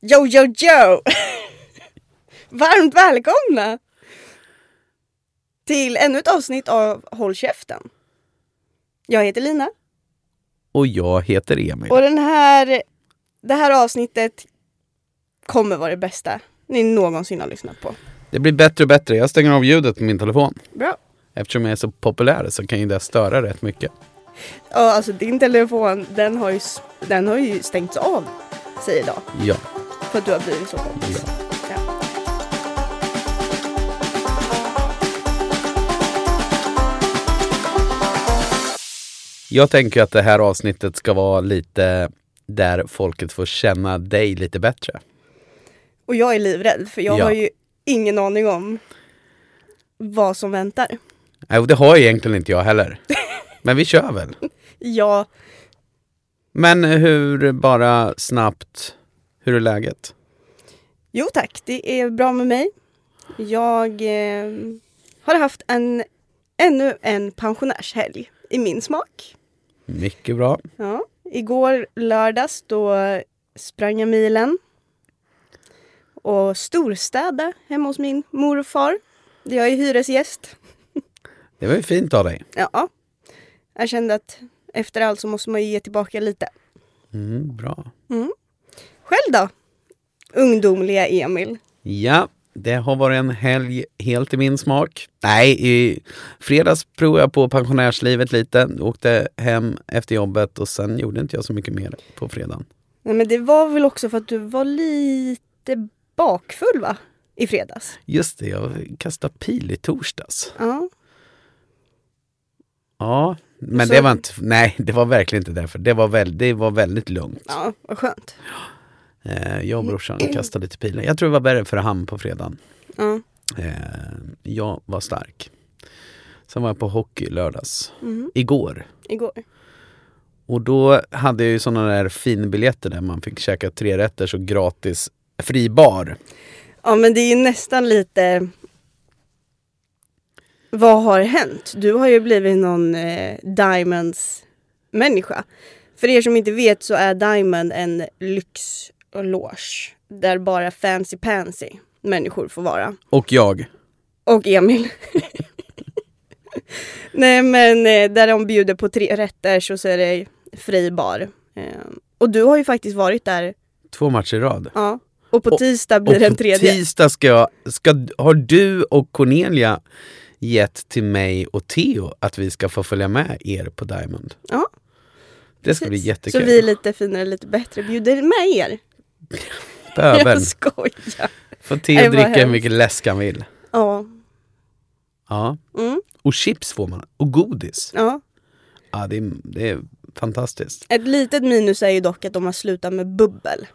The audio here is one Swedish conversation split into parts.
Yo, yo, yo! Varmt välkomna till ännu ett avsnitt av Håll käften. Jag heter Lina Och jag heter Emil. och den här, det här avsnittet kommer vara det bästa ni någonsin har lyssnat på. Det blir bättre och bättre. Jag stänger av ljudet på min telefon. Bra. Eftersom jag är så populär så kan ju det störa rätt mycket. Ja, alltså din telefon, den har ju, s- den har ju stängts av, säger idag. Ja. För att du har blivit så kompis. Ja. Jag tänker att det här avsnittet ska vara lite där folket får känna dig lite bättre. Och jag är livrädd, för jag Ja. har ju ingen aning om vad som väntar. Nej, Äh, och det har egentligen inte jag heller. Men vi kör väl. Jag Men hur, bara snabbt, hur är läget? Jo tack, det är bra med mig. Jag eh, har haft en, ännu en pensionärshelg i min smak. Mycket bra. Ja. Igår lördags då sprang jag milen och storstäda hemma hos min mor och far. Jag är hyresgäst. Det var ju fint av dig. Ja. Jag kände att efter allt så måste man ju ge tillbaka lite. Mm, bra. Själv då? Ungdomliga Emil. Ja, det har varit en helg helt i min smak. Nej, i fredags provade jag på pensionärslivet lite. Åkte hem efter jobbet och sen gjorde inte jag så mycket mer på fredagen. Nej, men det var väl också för att du var lite bakfull va? I fredags? Just det, jag kastade pil i torsdags. Ja. Ja, men Och så- det var inte... Nej, det var verkligen inte därför. Det var, väl, det var väldigt lugnt. Ja, vad skönt. Eh, jag och brorsan kastade lite pilar. Jag tror det var värre för han på fredagen. Ja. Eh, jag var stark. Sen var jag på hockey i lördags. Mhm. Igår. Igår. Och då hade jag ju sådana där finbiljetter där man fick käka tre rätter så gratis fri bar. Ja, men det är ju nästan lite... Vad har hänt? Du har ju blivit någon eh, Diamonds-människa. För er som inte vet så är Diamond en lyxloge där bara fancy-pansy människor får vara. Och jag. Och Emil. Nej men eh, där de bjuder på tre rätter så så är det fri bar. Eh, och du har ju faktiskt varit där. Två matcher i rad. Ja. Och på Och- tisdag Och blir det en på tredje. tisdag ska jag, ska, har du och Cornelia gett till mig och Theo att vi ska få följa med er på Diamond. Ja. Det ska bli Precis. jättekul. Så vi är lite finare, lite bättre bjuder med er. Böveln. Jag skojar. Får Nej, Theo vad dricka hur hemskt. mycket läsk han vill. Ja. Ja. Mm, Och chips får man. Och godis. ja. Ja, det, är, det är fantastiskt. Ett litet minus är ju dock att de har slutat med bubbel.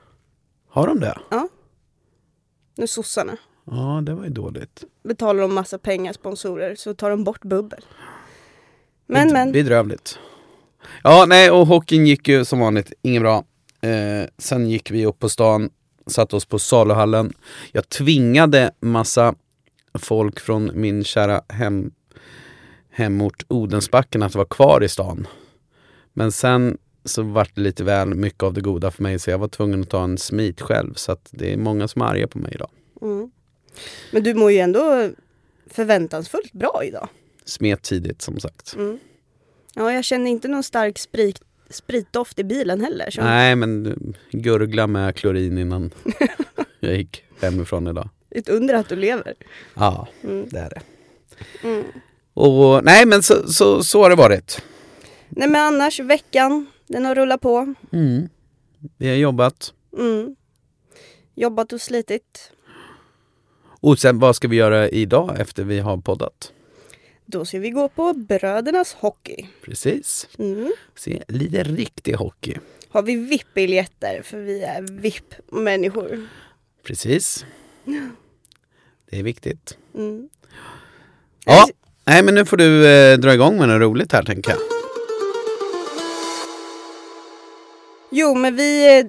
Har de det? Nu sossarna. Ja, det var ju dåligt. Betalar de massa pengar, sponsorer, så tar de bort bubbel. Men Bed- men, Bedrövligt. Ja, nej, och hockeyn gick ju som vanligt inget bra. Eh, sen gick vi upp på stan, satte oss på saluhallen. Jag tvingade massa folk från min kära hem, hemort Odensbacken att vara kvar i stan. Men sen så vart det lite väl mycket av det goda för mig så jag var tvungen att ta en smit själv. Så att det är många som är arga på mig idag. mm. men du mår ju ändå förväntansfullt bra idag. Smet tidigt som sagt. Mm. Ja, jag känner inte någon stark sprit, spritdoft i bilen heller. Så Nej men eh, gurgla med klorin innan jag gick hemifrån idag. Ett under att du lever. Ja, Mm. det är det. Mm. Och nej men så, så, så har det varit. Nej men annars, veckan, den har rullat på. Mm. Vi har jobbat. Mm. Jobbat och slitit. Och sen vad ska vi göra idag efter vi har poddat? Då ska vi gå på Brödernas Hockey. Precis. Mm. Se, lite riktig hockey. Har vi VIP-biljetter, för vi är VIP-människor. Precis. Det är viktigt. Mm. Ja, nej men nu får du eh, dra igång med något roligt här tänker jag. Jo, men vi, eh,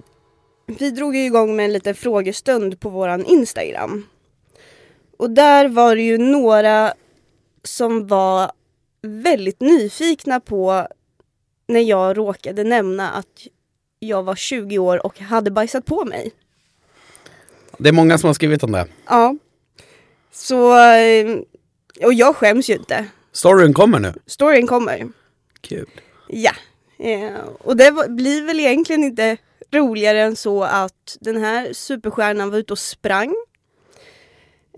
vi drog ju igång med en liten frågestund på våran Instagram. Och där var det ju några som var väldigt nyfikna på när jag råkade nämna att jag var 20 år och hade bajsat på mig. Det är många som har skrivit om det. Ja. Så, eh, och jag skäms ju inte. Storyn kommer nu. Storyn kommer. Kul. Ja. Eh, och det var- blir väl egentligen inte roligare än så att den här superstjärnan var ute och sprang.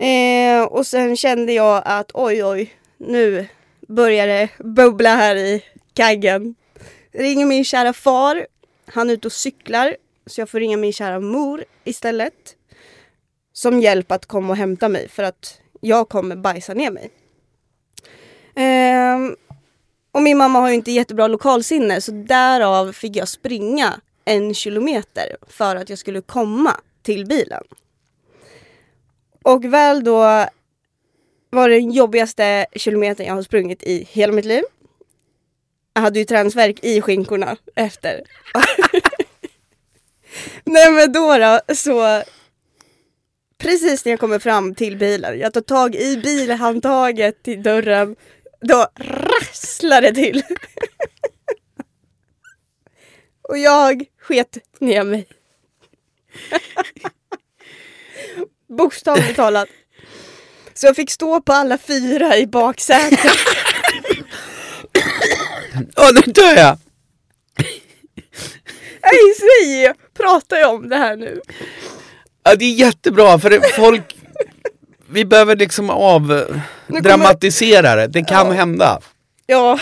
Eh, och sen kände jag att oj, oj, nu börjar det bubbla här i kaggen. Ringer min kära far. Han är ute och cyklar. Så jag får ringa min kära mor istället. Som hjälp att komma och hämta mig för att jag kommer bajsa ner mig. Ehm, och min mamma har ju inte jättebra lokalsinne så därav fick jag springa en kilometer för att jag skulle komma till bilen. Och väl då var det den jobbigaste kilometern jag har sprungit i hela mitt liv. Jag hade ju träningsvärk i skinkorna efter. Nej men då då så precis när jag kommer fram till bilen, jag tar tag i bilhandtaget till dörren, då rasslar det till. Och jag sket ner mig. Bokstavligt talat. Så jag fick stå på alla fyra i baksätet. Åh, nu dör jag! Nej, säger Pratar jag om det här nu? Ja, det är jättebra för det- folk... Vi behöver liksom avdramatisera det. Det kan hända. Ja,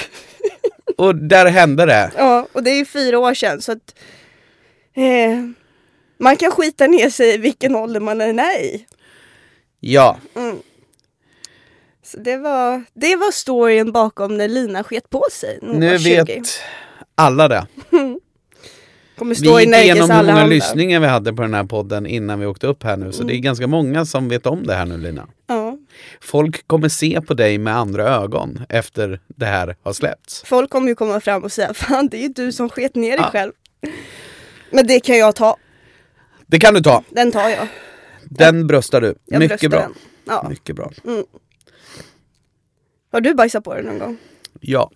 Och där hände det. ja och det är ju fyra år sedan så att eh, man kan skita ner sig i vilken ålder man än är i. Ja. Så det var, det var storyn bakom när Lina sket på sig. när hon Nu var 20. vet alla det. Kommer Vi stå i gick Nerikes igenom hur många Allehanda. lyssningar vi hade på den här podden innan vi åkte upp här nu. Så det är Mm. ganska många som vet om det här nu Lina. Ja. Folk kommer se på dig med andra ögon efter det här har släppts. Folk kommer ju komma fram och säga fan det är ju du som sket ner dig Ja. själv. Men det kan jag ta. Det kan du ta. Den tar jag. Den bröstar du. jag bröstar Mycket bra. Den. Ja. Mycket bra. Har du bajsat på dig någon gång? Ja.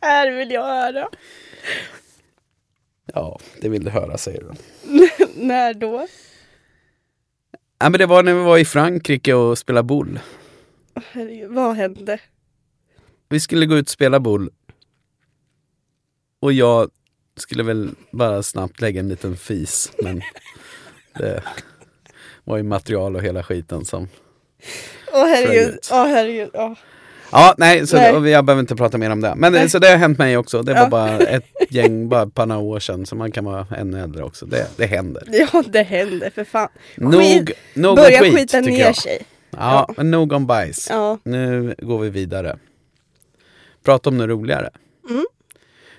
Här vill jag höra. Ja, det vill du höra säger du. När då? Ja, men det var när vi var i Frankrike och spelade boule. Åh, Herregud, vad hände? Vi skulle gå ut och spela boule. Och jag skulle väl bara snabbt lägga en liten fis. Men det var ju material och hela skiten som... Åh herregud, Förlåt. åh herregud. Åh. Ja, nej, så Nej. och jag behöver inte prata mer om det. Men det- Nej. så det har hänt mig också. Det var Ja. bara ett gäng, bara ett par några år sedan. Så man kan vara ännu äldre också. Det, det händer. Ja det hände för fan. Nog, nog om Börja skit, skita tycker ner jag. sig. Ja, men nog om bajs. Ja. Nu går vi vidare. Prata om något roligare. Mm.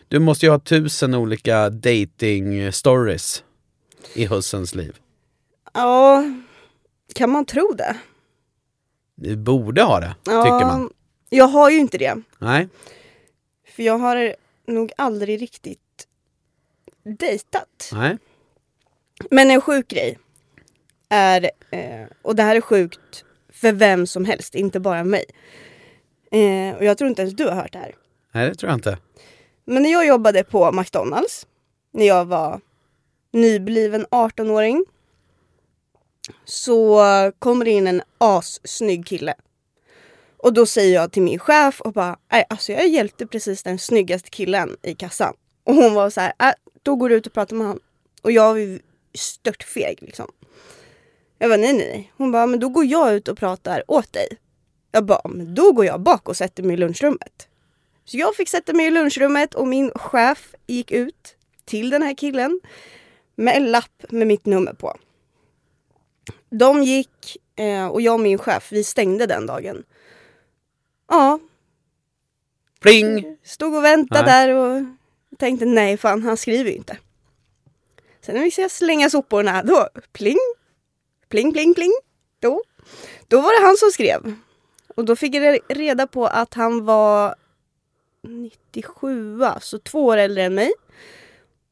Du måste ju ha tusen olika dating stories i hussens liv. ja, kan man tro det? Du borde ha det, Ja, tycker man. Jag har ju inte det. Nej, För jag har nog aldrig riktigt dejtat. nej. Men en sjuk grej är, eh, och det här är sjukt för vem som helst, inte bara mig. Eh, och jag tror inte ens du har hört det här. nej, det tror jag inte. Men när jag jobbade på McDonalds, när jag var nybliven 18-åring, så kommer det in en assnygg kille. Och då säger jag till min chef och bara, "Nej, alltså jag hjälpte precis den snyggaste killen i kassan. Och hon var så här, "Äh, då går du ut och pratar med han. Och jag var ju störtfeg liksom. Jag bara, nej nej, nej. Hon bara, men då går jag ut och pratar åt dig. Jag bara, men då går jag bak och sätter mig i lunchrummet. Så jag fick sätta mig i lunchrummet och min chef gick ut till den här killen med en lapp med mitt nummer på. De gick eh, och jag och min chef, vi stängde den dagen. Ja, Pling! stod och väntade Nej. där och tänkte nej fan han skriver ju inte. Sen när vi ska slänga soporna då pling, pling, pling, pling. Då, då var det han som skrev. Och då fick jag reda på att han var 97, så två år äldre än mig.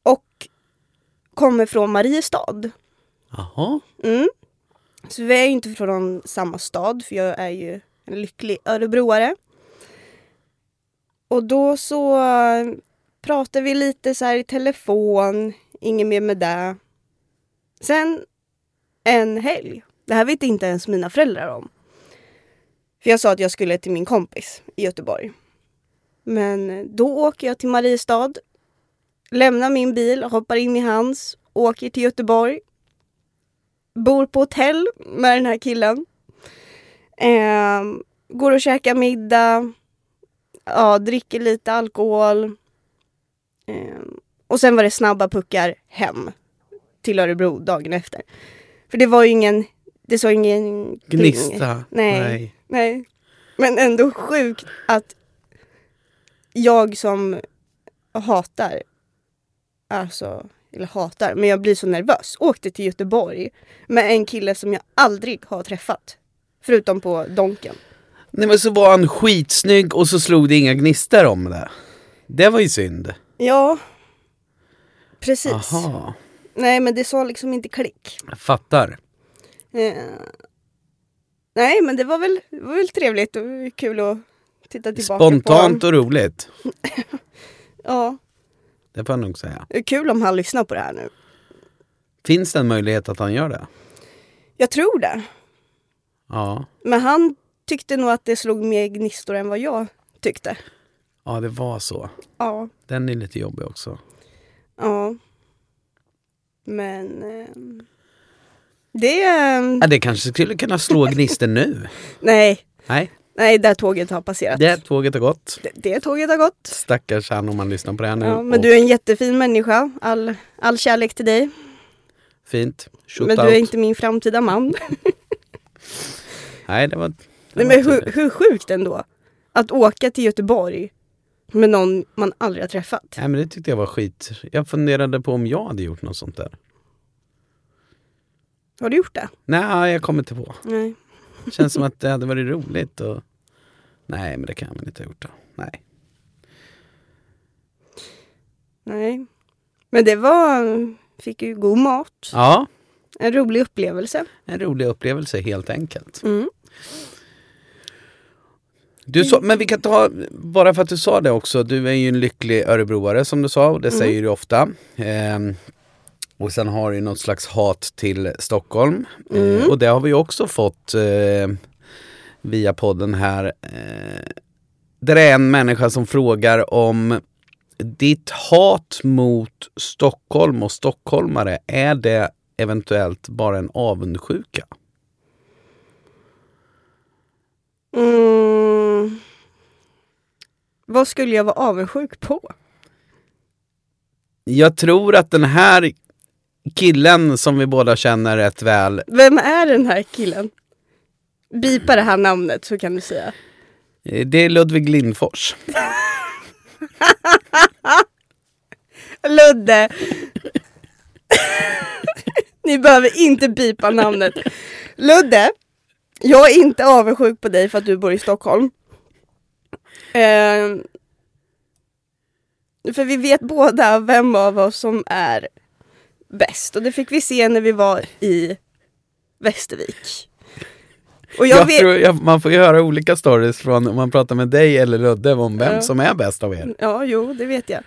Och kommer från Mariestad. Jaha. Mm. Så vi är ju inte från samma stad för jag är ju en lycklig örebroare. Och då så eh, pratade vi lite så här i telefon, inget mer med det. Sen en helg, det här vet inte ens mina föräldrar om. För jag sa att jag skulle till min kompis i Göteborg. Men då åker jag till Mariestad, lämnar min bil, hoppar in i hans, åker till Göteborg. Bor på hotell med den här killen. Ehm, går och käkar middag. Ja, dricker lite alkohol. Ehm, och sen var det snabba puckar hem till Örebro dagen efter. För det var ju ingen, det såg ingen kring. Gnista? Nej. Nej. Men ändå sjukt att jag som hatar, alltså, eller hatar, men jag blir så nervös, åkte till Göteborg med en kille som jag aldrig har träffat. Förutom på Donken. Nej men så var han skitsnygg och så slog det inga gnistor om det. Det var ju synd. Ja, precis. Aha, Nej men det sa liksom inte klick. jag fattar. Eh, nej men det var väl, det var väl trevligt och kul att titta tillbaka Spontant på. och roligt. Ja, Det får jag nog säga. det är kul om han lyssnar på det här nu. Finns det en möjlighet att han gör det? Jag tror det. Ja. Men han tyckte nog att det slog mer gnistor än vad jag tyckte. Ja, det var så. Ja. Den är lite jobbig också. Ja. Men... ehm, Det... ehm, Ja, det kanske skulle kunna slå gnistor nu. Nej. Nej, Nej, det här tåget har passerat. det här tåget har gått. Det, det tåget har gått. Stackars han om man lyssnar på det här nu. Ja, men Och du är en jättefin människa. All, all kärlek till dig. Fint. Shoot men out. du är inte min framtida man. Nej, det var... Det Nej, var men hur, tydligt. hur sjukt ändå? Att åka till Göteborg med någon man aldrig har träffat. Nej, men det tyckte jag var skit. Jag funderade på om jag hade gjort något sånt där. Har du gjort det? Nej, jag kommer inte på. Nej. Känns som att det hade varit roligt och... Nej, men det kan man inte ha gjort då. Nej. Nej. Men det var... Fick ju god mat. Ja, En rolig upplevelse. en rolig upplevelse helt enkelt. Mm. Du så, men vi kan ta, bara för att du sa det också, du är ju en lycklig örebroare som du sa och det säger du ofta. Ehm, och sen har du något slags hat till Stockholm. Eh, och det har vi ju också fått eh, via podden här. Eh, där är en människa som frågar om ditt hat mot Stockholm och stockholmare, är det eventuellt bara en avundsjuka? Mm. Vad skulle jag vara avundsjuk på? Jag tror att den här killen som vi båda känner rätt väl, Vem är den här killen? Bipa det här namnet så kan du säga. eh, det är Ludvig Lindfors. Ludde! Ni behöver inte bipa namnet. Ludde, jag är inte avundsjuk på dig för att du bor i Stockholm. Eh, för vi vet båda vem av oss som är bäst och det fick vi se när vi var i Västervik. Och jag, Jag vet... tror, jag, man får ju höra olika stories från om man pratar med dig eller Ludde om vem Ja. som är bäst av er. Ja, jo, det vet jag.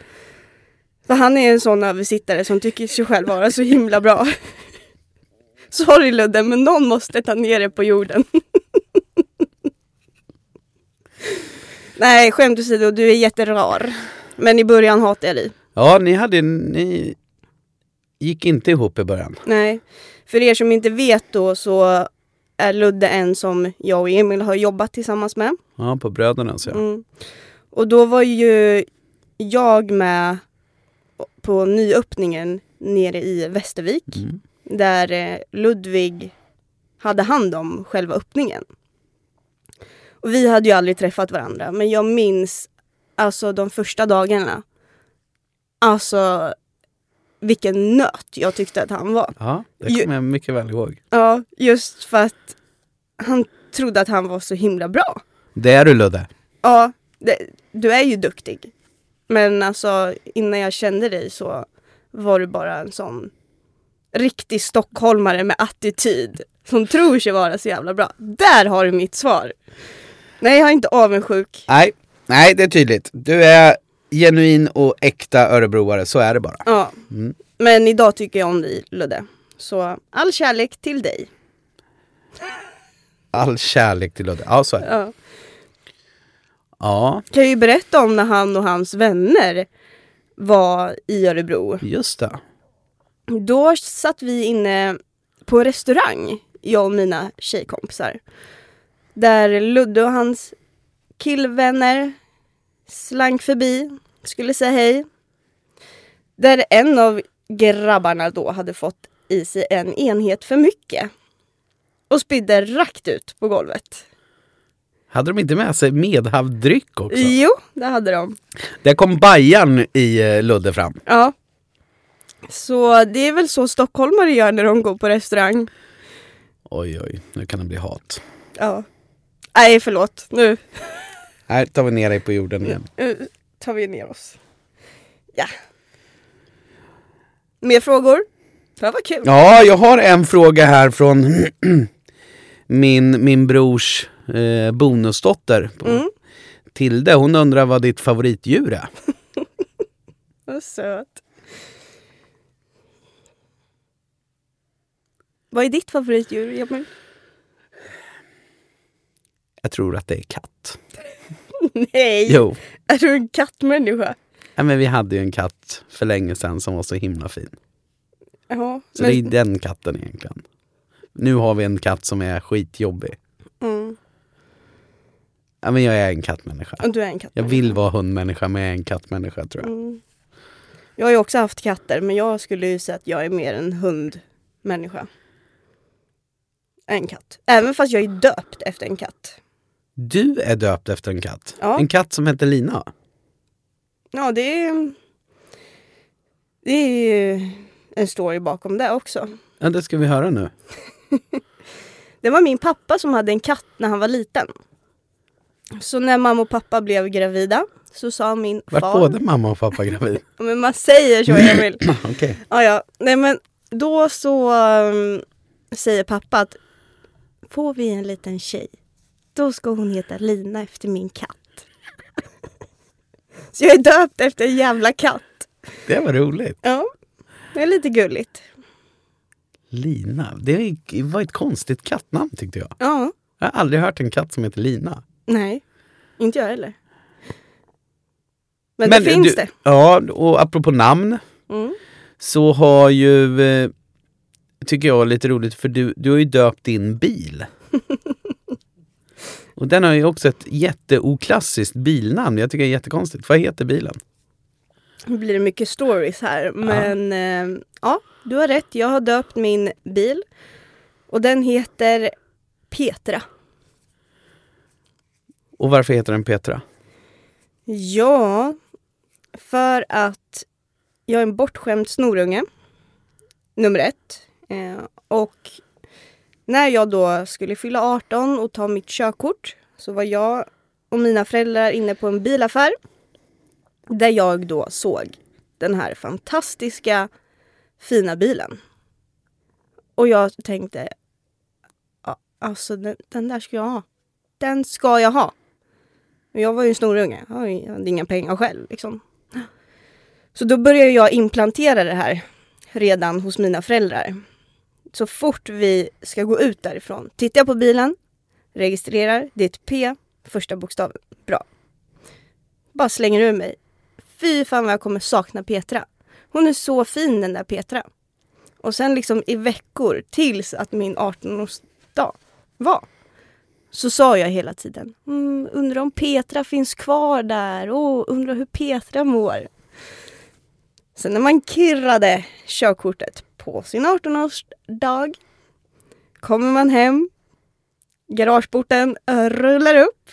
För han är en sån översittare som tycker sig själv vara så himla bra. Sorry Ludde, men någon måste ta ner det på jorden. Nej, skämt åsido, du är jätterar. Men i början hatade jag dig. Ja, ni hade, ni gick inte ihop i början. Nej. För er som inte vet då så är Ludde en som jag och Emil har jobbat tillsammans med. Ja, på bröderna så ja. Mm. Och då var ju jag med på nyöppningen nere i Västervik Mm. där eh, Ludvig hade hand om själva öppningen. Och vi hade ju aldrig träffat varandra men jag minns alltså de första dagarna. Alltså vilken nöt jag tyckte att han var. Ja, det kommer jag mycket väl ihåg. Ja, just för att han trodde att han var så himla bra. Det är du Ludde. Ja, det, du är ju duktig. Men alltså innan jag kände dig så var du bara en sån riktig stockholmare med attityd som tror sig vara så jävla bra. Där har du mitt svar. Nej, jag är inte avundsjuk. Nej, nej det är tydligt. Du är genuin och äkta örebroare, så är det bara. Ja. Mm. Men idag tycker jag om dig, Ludde. Så all kärlek till dig. All kärlek till Ludde. Ja, så är det. Ja. Ja, Kan ju berätta om när han och hans vänner var i Örebro. just det. Då satt vi inne på en restaurang, jag och mina tjejkompisar. Där Ludde och hans killvänner slank förbi, skulle säga hej. Där en av grabbarna då hade fått i sig en enhet för mycket. Och spydde rakt ut på golvet. Hade de inte med sig medhavdryck också? Jo, det hade de. Där kom Bajan i eh, Ludde fram. Ja. Så det är väl så stockholmare gör när de går på restaurang. Oj, oj, nu kan det bli hat. Ja. Nej, förlåt. Nu Här tar vi ner dig på jorden igen. Nu Eh, tar vi ner oss. Ja. Mer frågor? Det här var kul. Ja, jag har en fråga här från min, min brors eh, bonusdotter. På Tilde, hon undrar vad ditt favoritdjur är. Vad söt. Vad är ditt favoritdjur, Emil? Jag tror att det är katt. Nej! Jo, Är du en kattmänniska? ja, men vi hade ju en katt för länge sedan som var så himla fin. Ja. Så det är Men, den katten egentligen. Nu har vi en katt som är skitjobbig. mm. Ja, men jag är en kattmänniska. Och Du är en Jag kattmänniska. vill vara hundmänniska men jag är en kattmänniska tror jag. Mm. Jag har ju också haft katter, men jag skulle ju säga att jag är mer en hundmänniska. En katt. Även fast jag är döpt efter en katt. Du är döpt efter en katt. Ja. En katt som heter Lina. Ja, det är, det är ju en story bakom det också. Ja, det ska vi höra nu. Det var min pappa som hade en katt när han var liten. Så när mamma och pappa blev gravida så sa min Vart far... både mamma och pappa gravid? Ja, Men man säger så, Emil. Okej. Ja, ja. Nej, men då så ehm, säger pappa att får vi en liten tjej, då ska hon heta Lina efter min katt. så jag är döpt efter en jävla katt. Det var roligt. Ja, det är lite gulligt. Lina. Det var ju- var ett konstigt kattnamn tyckte jag. Ja, Jag har aldrig hört en katt som heter Lina. nej, inte jag heller. Men, det finns du- det. Ja, och apropå namn Mm. så har ju, eh, tycker jag, lite roligt för du, du har ju döpt din bil. och den har ju också ett jätteoklassiskt bilnamn. Jag tycker det är jättekonstigt. Vad heter bilen? Nu blir det mycket stories här. Men eh, ja, du har rätt. Jag har döpt min bil. Och den heter Petra. Och varför heter den Petra? Ja, för att jag är en bortskämd snorunge. Nummer ett. Eh, och när jag då skulle fylla 18 och ta mitt körkort så var jag och mina föräldrar inne på en bilaffär. Där jag då såg den här fantastiska fina bilen. Och jag tänkte, "Ja, alltså den, den där ska jag ha. Den ska jag ha. Men Jag var ju en snorunge. Jag hade ju- jag hade inga pengar själv. Liksom. Så då började jag implantera det här redan hos mina föräldrar. Så fort vi ska gå ut därifrån tittar jag på bilen, registrerar, det är ett P, första bokstaven. Bra. Bara slänger ur mig. Fy fan vad jag kommer sakna Petra. Hon är så fin den där Petra. Och sen liksom i veckor tills att min 18-årsdag var så sa jag hela tiden, mm, undrar om Petra finns kvar där, oh, undrar hur Petra mår. Sen när man kirrade körkortet på sin 18-årsdag kommer man hem, garageporten eh, rullar upp.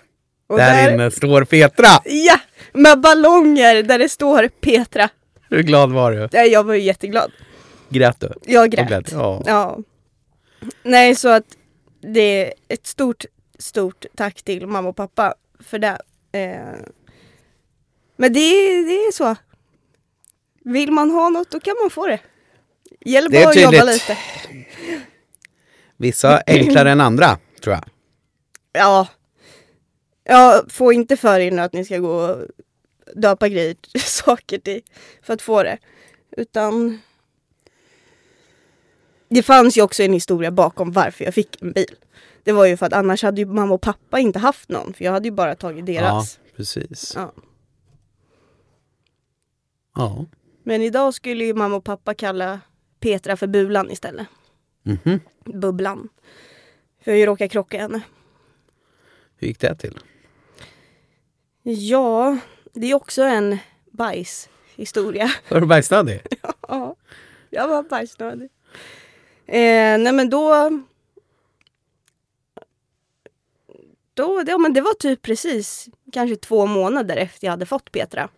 Och där, inne står Petra! Ja! Med ballonger där det står Petra. Hur glad var du? Ja, Jag var ju jätteglad. Grät du? Jag Och grät. grät, ja. Ja. Nej, så att det är ett stort, stort tack till mamma och pappa för det. Eh, Men det, är- det är så. Vill man ha något då kan man få det. Gäller Det är bara att jobba tydligt. lite. Vissa enklare än andra, tror jag. Ja. Ja, få inte för er nu att ni ska gå och döpa grejer, saker till för att få det. Utan det fanns ju också en historia bakom varför jag fick en bil. Det var ju för att annars hade ju mamma och pappa inte haft någon, för jag hade ju bara tagit deras. Ja, precis. Ja. Ja. Men idag skulle ju mamma och pappa kalla Petra för Bulan istället. Mhm. Bubblan. För jag har ju råkat krocka henne. Hur gick det till? Ja, det är också en bajshistoria. Var du bajsnödig? Ja, jag var bajsnödig. Eh, nej men då... då det, ja, men det var typ precis kanske två månader efter jag hade fått Petra.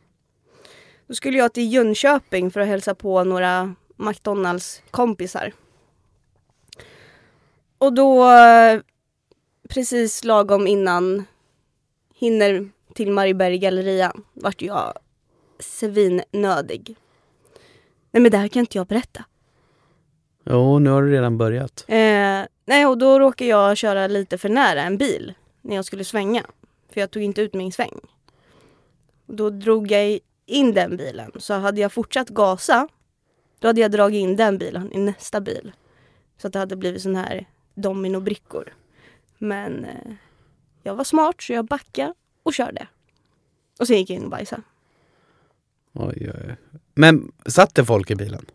Då skulle jag till Jönköping för att hälsa på några McDonalds-kompisar. Och då, eh, precis lagom innan, hinner till Marieberg galleria vart jag svinnödig. Nej men det här kan inte jag berätta. Jo, nu har du redan börjat. Eh, nej och då råkade jag köra lite för nära en bil när jag skulle svänga. För jag tog inte ut min sväng. Och då drog jag i- in den bilen. Så hade jag fortsatt gasa då hade jag dragit in den bilen i nästa bil. Så att det hade blivit sån här dominobrickor. Men eh, jag var smart så jag backade och körde. Och sen gick jag in och bajsade. Oj, oj. oj. Men satt det folk i bilen?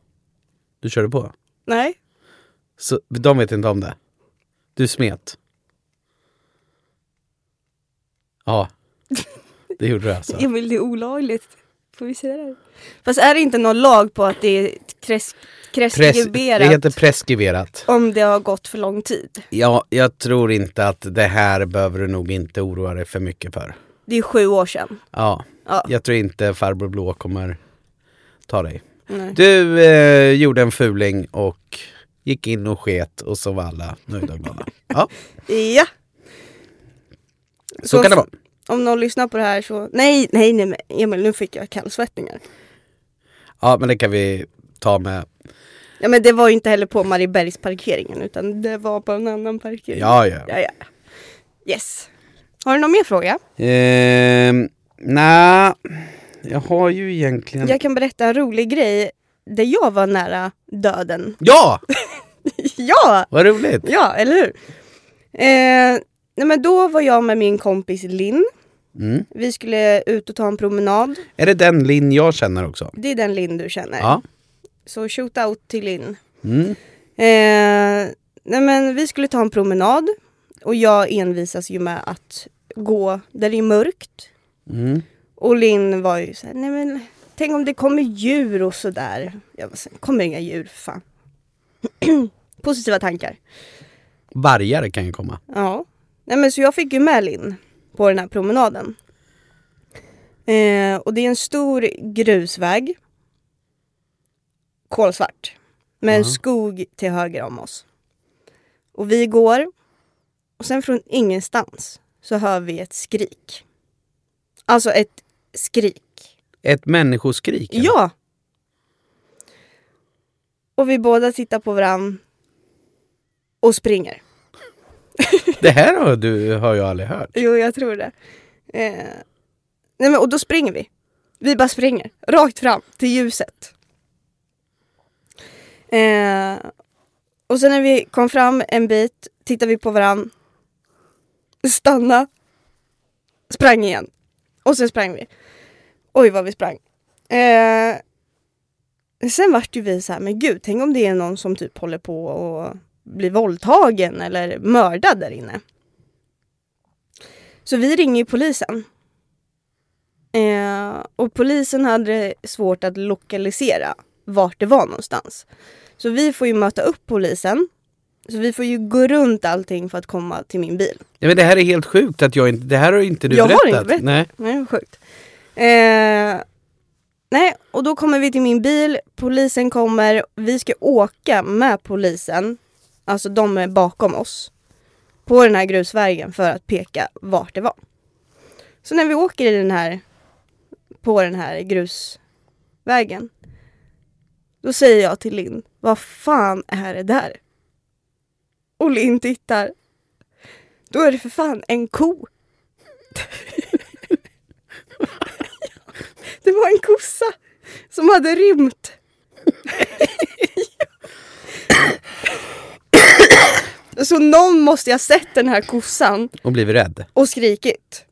Du körde på? Nej, Så, de vet inte om det? Du smet? Ja, det gjorde du alltså? Ja men det är olagligt. Får vi säga det? Fast är det inte någon lag på att det är kres- Pres- preskriberat det heter preskriberat. om det har gått för lång tid? Ja, jag tror inte att det här behöver du nog inte oroa dig för mycket för. Det är sju år sedan. Ja, Ja. jag tror inte farbror blå kommer ta dig. Nej. Du eh, gjorde en fuling och gick in och sket och så var alla nöjda och glada. Ja, Ja, så, kan det vara. om någon lyssnar på det här så... Nej, nej, nej, nej. Emil, nu fick jag kallsvettningar. Ja, men det kan vi ta med. Ja men det var ju inte heller på Mariebergsparkeringen utan det var på en annan parkering. Ja, ja. ja, ja. Yes. Har du någon mer fråga? Ehm, Nej, jag har ju egentligen... Jag kan berätta en rolig grej där jag var nära döden. Ja, ja! vad roligt! Ja, eller hur? Eh, nej men då var jag med min kompis Linn. Mm. Vi skulle ut och ta en promenad. Är det den Linn jag känner också? Det är den Linn du känner. Ja. Så shoot out till Linn. Mm. Eh, nej men vi skulle ta en promenad. Och jag envisas ju med att gå där det är mörkt. Mm. Och Linn var ju såhär, nej men tänk om det kommer djur och sådär. Jag var såhär, kommer inga djur, fan. Positiva tankar. Vargare kan ju komma. Ja. Nej men så jag fick ju med Linn på den här promenaden. Eh, och det är en stor grusväg. Kolsvart. Med en Ja. skog till höger om oss. Och vi går. Och sen från ingenstans så hör vi ett skrik. Alltså ett skrik. Ett människoskrik? eller? Ja! Och vi båda tittar på varandra. Och springer. Det här har, du, har jag aldrig hört. Jo, jag tror det. Eh, nej men, och då springer vi. Vi bara springer. Rakt fram till ljuset. Eh, och sen när vi kom fram en bit tittade vi på varann. Stanna. Sprang igen. Och sen sprang vi. Oj vad vi sprang. Eh, sen vart ju vi så här, men gud, tänk om det är någon som typ håller på och blir våldtagen eller mördad där inne. Så vi ringer ju polisen. Eh, och polisen hade svårt att lokalisera vart det var någonstans. Så vi får ju möta upp polisen. Så vi får ju gå runt allting för att komma till min bil. Ja, men det här är helt sjukt att jag inte, det här har inte du Jag har berättat. inte berättat. Nej. Nej, vad sjukt. Eh, nej, och då kommer vi till min bil. Polisen kommer. Vi ska åka med polisen. Alltså de är bakom oss. På den här grusvägen för att peka vart det var. Så när vi åker i den här, på den här grusvägen. Då säger jag till Linn, vad fan är det där? Och Linn tittar. Då är det för fan en ko. Det var en kossa som hade rymt. Så någon måste ju ha sett den här kossan och blivit rädd. och skrikit.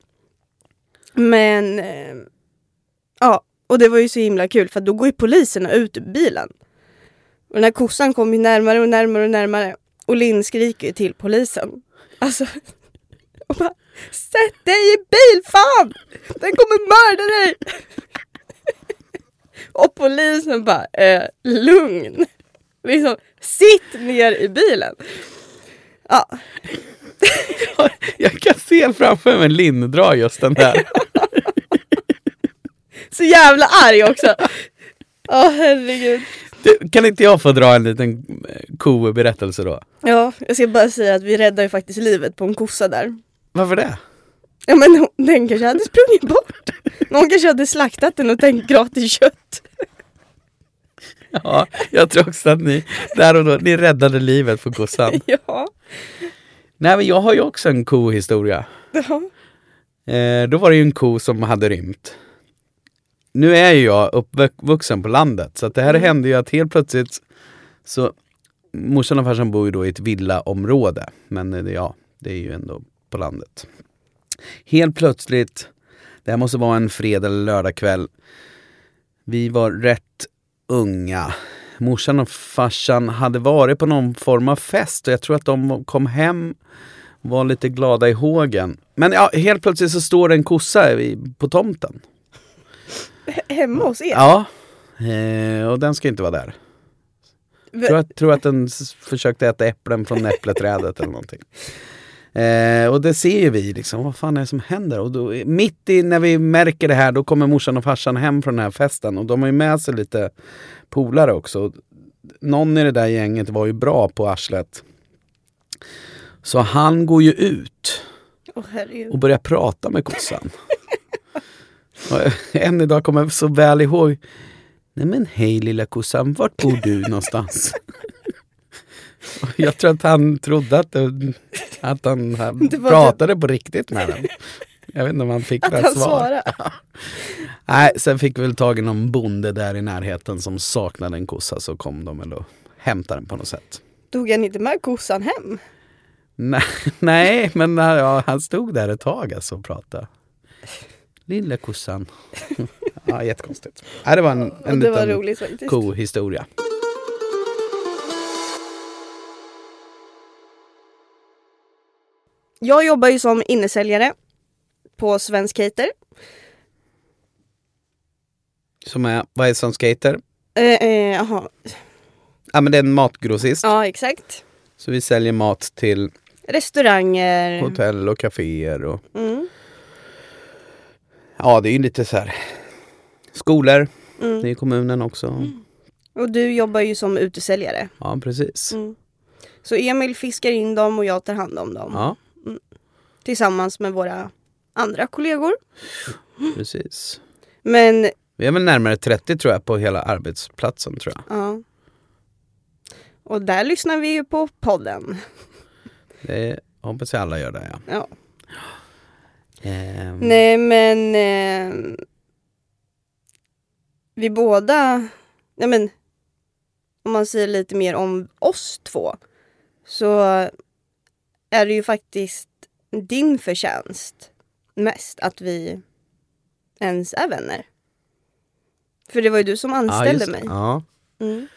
Men eh, ja, och det var ju så himla kul för då går ju poliserna ut ur bilen. Och den här kossan kommer ju närmare och närmare och närmare. Och Linn skriker ju till polisen. Alltså, och bara, sätt dig i bil fan! Den kommer mörda dig! Och polisen bara, eh, lugn. Liksom, sitt ner i bilen. Ja, Jag kan se framför mig Linn dra just den där. så jävla arg också. Ja, herregud. Du, kan inte jag få dra en liten eh, koberättelse då? Ja, jag ska bara säga att vi räddade ju faktiskt livet på en kossa där. Varför det? Ja men hon- den kanske hade sprungit bort. Någon kanske hade slaktat den och tänkt gratis kött. Ja, jag tror också att ni där och då, ni räddade livet för kossan. Ja. Nej men jag har ju också en kohistoria. ja. Eh, då var det ju en ko som hade rymt. Nu är ju jag uppvuxen på landet så att det här hände ju att helt plötsligt så morsan och farsan bor ju då i ett villaområde. Men eh, det- ja, det är ju ändå på landet. Helt plötsligt, det här måste vara en fredag eller lördagkväll. Vi var rätt unga. Morsan och farsan hade varit på någon form av fest och jag tror att de kom hem var lite glada i hågen. Men ja, helt plötsligt så står det en kossa i- på tomten. He- Hemma hos er? Ja. Eh, och den ska inte vara där. V- Tror att, tror att den s- försökte äta äpplen från äppleträdet eller någonting. Eh, och det ser ju vi liksom, vad fan är det som händer? Och då, mitt i när vi märker det här, då kommer morsan och farsan hem från den här festen och de har ju med sig lite polare också. Och Någon i det där gänget var ju bra på arslet. Så han går ju ut Åh, herregud. och börja prata med kossan. Och Än idag kommer jag så väl ihåg. Nej men hej lilla kossan, vart bor du någonstans? Och jag tror att han trodde att, det, att han Det var pratade på riktigt med den. Jag vet inte om han fick Att det han här svar. svarar. Nej, sen fick vi väl tag i någon bonde där i närheten som saknade en kossa så kom de väl och hämtade den på något sätt. Tog han inte med kossan hem? Nej, nej men ja, han stod där ett tag alltså och pratade. Lilla kossan. ja, jättekonstigt. Nej, det var en, Och en det var liten roligt faktiskt. kohistoria. Jag jobbar ju som innesäljare på Svensk Cater. Som är, vad är som skater? Eh, eh, jaha. Ja men det är en matgrossist. ja, exakt. Så vi säljer mat till Restauranger. hotell och kaféer och Mm. ja det är ju lite så här skolor. Mm. Det är kommunen också. Och du jobbar ju som utesäljare. Ja precis. Mm. Så Emil fiskar in dem och jag tar hand om dem. Ja Tillsammans med våra andra kollegor. precis. Men Vi är väl närmare 30 tror jag på hela arbetsplatsen tror jag. Ja. Och där lyssnar vi ju på podden. Det hoppas jag alla gör det ja. Ja. Ehm, Nej men... Eh, vi båda... Nej men... Om man säger lite mer om oss två. Så är det ju faktiskt din förtjänst mest att vi ens är vänner. För det var ju du som ja, anställde just det. mig. Ja. Mm.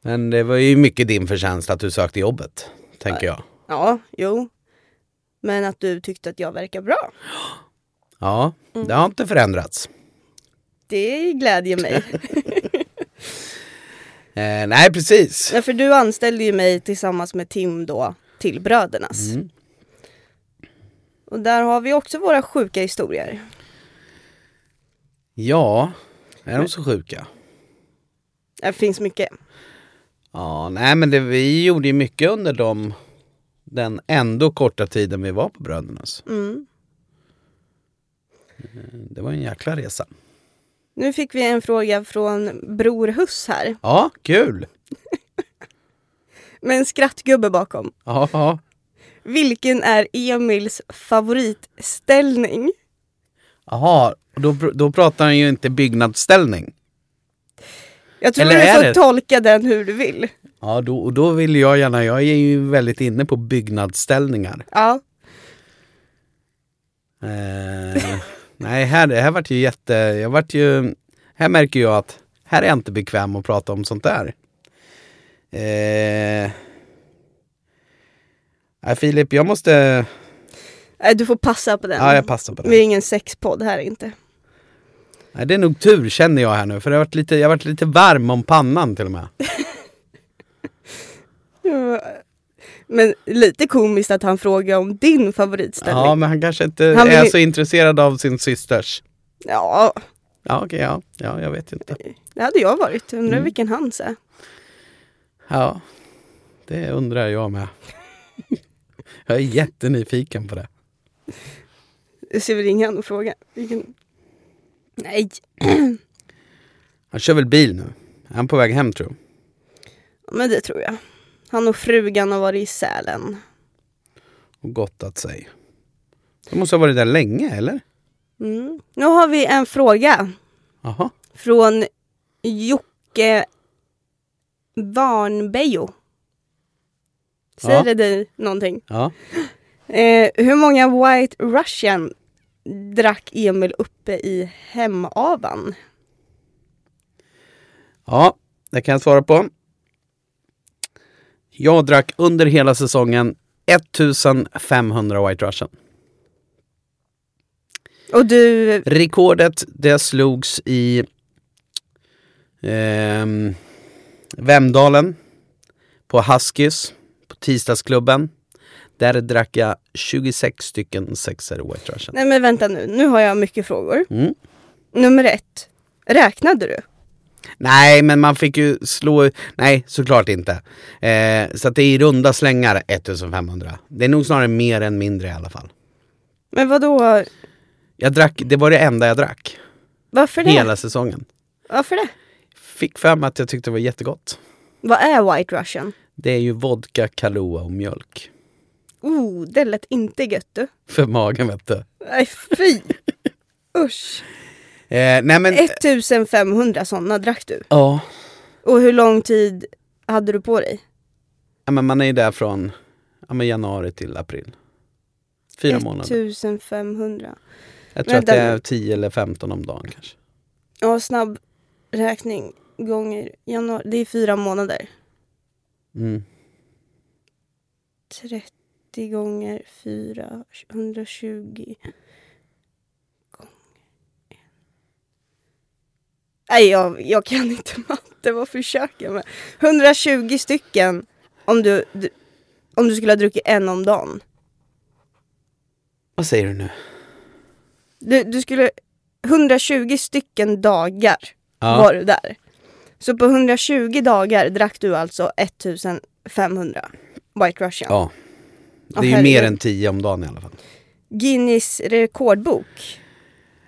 Men det var ju mycket din förtjänst att du sökte jobbet, tänker jag. Ja, jo. Men att du tyckte att jag verkar bra. Ja, det har inte förändrats. Det glädjer mig. Eh, nej, precis. Ja, för du anställde ju mig tillsammans med Tim då till Brödernas. Mm. Och där har vi också våra sjuka historier. Ja, är de så sjuka? Det finns mycket. Ja, nej men det, vi gjorde ju mycket under dem, den ändå korta tiden vi var på Brödernas. Eh, Mm. Det var en jäkla resa. Nu fick vi en fråga från Bror Huss här. Ja, kul! Med en skrattgubbe bakom. Ja, ja. Vilken är Emils favoritställning? Jaha, och då, pr- då pratar han ju inte byggnadsställning. Jag tror Eller du är får det- tolka den hur du vill. Ja, då, och då vill jag gärna, jag är ju väldigt inne på byggnadsställningar. Ja. Eh, nej, här, här vart ju jätte... Jag vart ju... Här märker jag att här är jag inte bekväm att prata om sånt där. Eh, nej, Filip, jag måste... Nej, Du får passa på den. Ja, jag passar på Vi är det. ingen sexpodd här inte. Nej, det är nog tur känner jag här nu, för jag har varit lite, jag har varit lite varm om pannan till och med. Ja. Men lite komiskt att han frågar om din favoritställning. Ja, men han kanske inte Han vill är ju- så intresserad av sin systers. Ja, Ja, okej, ja. ja, jag vet inte. det hade jag varit. Undrar Mm. vilken hans är. Ja, det undrar jag med. Jag är jättenyfiken på det. Jag ska vi ringa han och fråga. Vilken... Nej, Han kör väl bil nu? Är han på väg hem tror jag? men det tror jag. Han och frugan har varit i Sälen. Och gottat sig. Han måste ha varit där länge, eller? Mm. Nu har vi en fråga Jaha. från Jocke Varnbejo. Säger Ja. det dig någonting? Ja. Eh, hur många White Russian drack Emil uppe i hemavan? ja, det kan jag svara på. Jag drack under hela säsongen 1500 White Russian. Och du, Rekordet det slogs i ehm, Vemdalen på Huskys på tisdagsklubben. Där drack jag 26 stycken sexer White Russian. nej men vänta nu, nu har jag mycket frågor. Mm. Nummer ett, räknade du? Nej, men man fick ju slå... Nej, såklart inte. Eh, så att det är i runda slängar 1500. Det är nog snarare mer än mindre i alla fall. Men vad då? Jag drack, det var det enda jag drack varför det? hela säsongen. Varför det? Fick för mig att jag tyckte det var jättegott. Vad är White Russian? Det är ju vodka, Kahlua och mjölk. Oh, det lät inte gött du. För magen vet du. Nej fy! Usch. Eh, nej men... 1500 sådana drack du. Ja. Och hur lång tid hade du på dig? Ja, men man är ju där från ja, men januari till april. Fyra månader. 1500. Jag tror att Vänta det nu. är 10 eller 15 om dagen kanske. Ja, snabb räkning gånger januari. Det är fyra månader. Mm. 30 gånger 4, 120 gånger 1. Nej, jag, jag kan inte matte. Vad försöker jag med? 120 stycken om du, du- om du skulle ha druckit en om dagen. Vad säger du nu? Du, du skulle... 120 stycken dagar Ja. var du där. Så på 120 dagar drack du alltså 1500 White Russian. Ja. Det Åh, är ju herregud. mer än 10 om dagen i alla fall. Guinness rekordbok.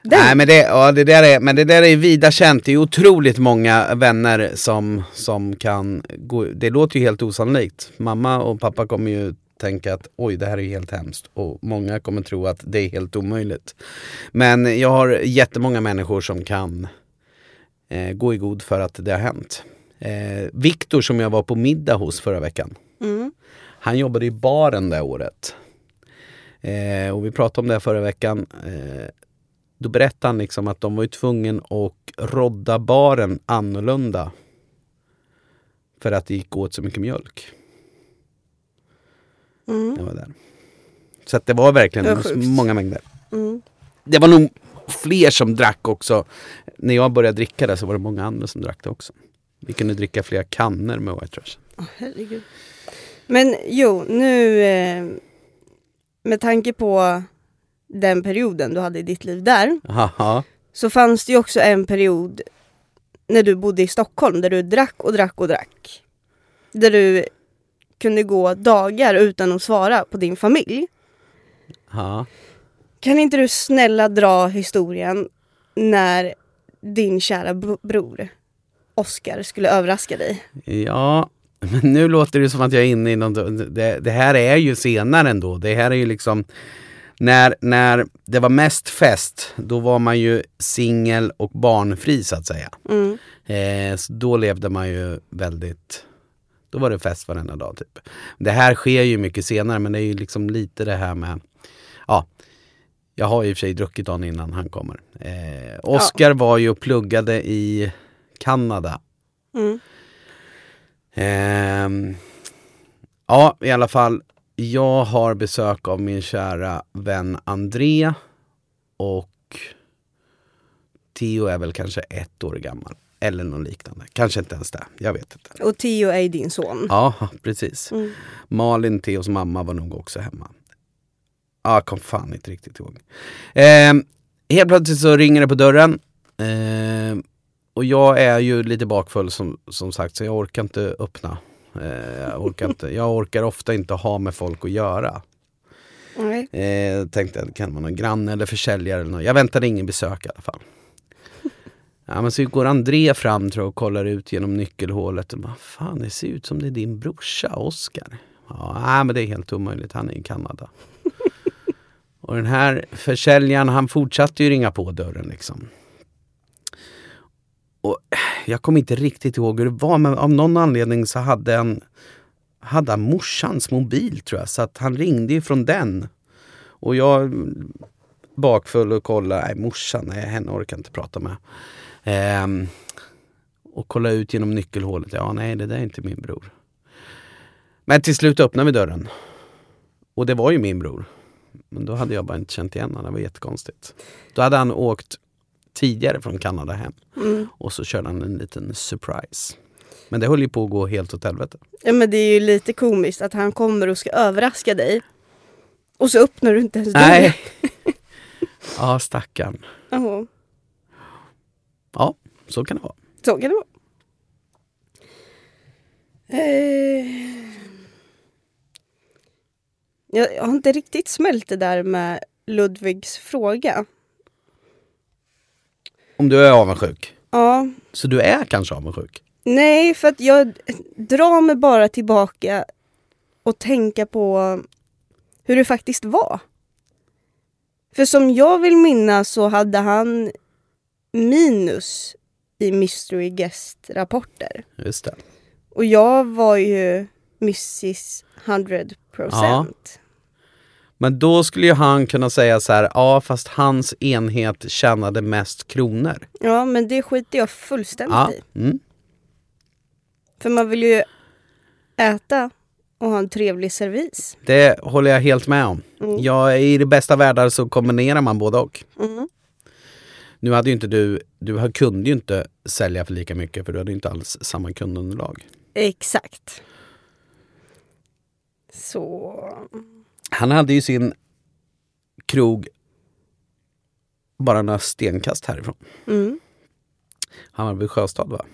Den. Nej men det, ja, det, där är, men det där är vida känt, det är otroligt många vänner som, som kan gå, det låter ju helt osannolikt. Mamma och pappa kommer ju tänka att oj det här är ju helt hemskt och många kommer tro att det är helt omöjligt. Men jag har jättemånga människor som kan eh, gå i god för att det har hänt. Eh, Viktor som jag var på middag hos förra veckan, Mm. han jobbade i baren det året. Eh, och vi pratade om det här förra veckan. Eh, då berättade han liksom att de var ju tvungen att rodda baren annorlunda. För att det gick åt så mycket mjölk. Mm. när Jag var där. Så att det var verkligen Det var sjukt. många mängder. Mm. Det var nog fler som drack också. När jag började dricka det så var det många andra som drack det också. Vi kunde dricka flera kannor med White Russian. Åh, herregud. Men jo, nu eh, med tanke på den perioden du hade i ditt liv där Haha. så fanns det ju också en period när du bodde i Stockholm där du drack och drack och drack. Där du kunde gå dagar utan att svara på din familj. Ja. Kan inte du snälla dra historien när din kära bro- bror Oscar skulle överraska dig? Ja, men nu låter det som att jag är inne i någon... Det, det här är ju senare ändå. Det här är ju liksom... När, när det var mest fest, då var man ju singel och barnfri så att säga. Mm. Eh, så då levde man ju väldigt Då var det fest varenda dag typ. Det här sker ju mycket senare men det är ju liksom lite det här med, ja, jag har ju i och för sig druckit dagen innan han kommer. Eh, Oscar var ju och pluggade i Kanada. Mm. Ehm, ja, i alla fall. Jag har besök av min kära vän André och Theo är väl kanske ett år gammal. Eller något liknande. Kanske inte ens det. Jag vet inte. Och Theo är ju din son. Ja, precis. Mm. Malin, Theos mamma var nog också hemma. Ja, jag kom fan inte riktigt ihåg. Ehm, helt plötsligt så ringer det på dörren. Ehm, och jag är ju lite bakfull som, som sagt så jag orkar inte öppna. Ehm, jag, orkar inte, jag orkar ofta inte ha med folk att göra. Nej. Eh, tänkte att det kan vara någon granne eller försäljare eller något. Jag väntade ingen besök i alla fall. Ja, men så går André fram tror jag, och kollar ut genom nyckelhålet. Och bara, Fan, det ser ut som det är din brorsa Oskar. Ja, nej, men det är helt omöjligt. Han är i Kanada. och den här försäljaren, han fortsatte ju ringa på dörren liksom. Och eh, jag kommer inte riktigt ihåg hur det var, men av någon anledning så hade han, hade han morsans mobil tror jag. Så att han ringde ju från den. Och jag mm, bakfull och kolla, nej morsan, nej henne orkar jag inte prata med. Ehm, och kolla ut genom nyckelhålet, ja nej det där är inte min bror. Men till slut öppnade vi dörren. Och det var ju min bror. Men då hade jag bara inte känt igen honom, det var jättekonstigt. Då hade han åkt tidigare från Kanada hem Mm. och så körde han en liten surprise. Men det höll ju på att gå helt åt helvete. Ja, men det är ju lite komiskt att han kommer och ska överraska dig. Och så öppnar du inte ens Nej. ja, stackarn. dörren. Jaha. Ja, så kan det vara. Så kan det vara. Eh, Jag, jag har inte riktigt smält det där med Ludvigs fråga. Om du är avundsjuk. Ja, Så du är kanske avundsjuk? nej, för att jag drar mig bara tillbaka och tänka på hur det faktiskt var. För som jag vill minnas så hade han minus i Mystery Guest-rapporter. Just det. Och jag var ju Mrs 100%. Ja. Men då skulle ju han kunna säga så här, ja fast hans enhet tjänade mest kronor. Ja, typ. men det skiter jag fullständigt Ja, i. mm. För man vill ju äta och ha en trevlig servis. Det håller jag helt med om. Mm. Jag, I det bästa världar så kombinerar man både och. Mm. Nu hade ju inte du, du kunde ju inte sälja för lika mycket för du hade ju inte alls samma kundunderlag. Exakt. Så... Han hade ju sin krog bara några stenkast härifrån. Mm, Han var vid Sjöstad va?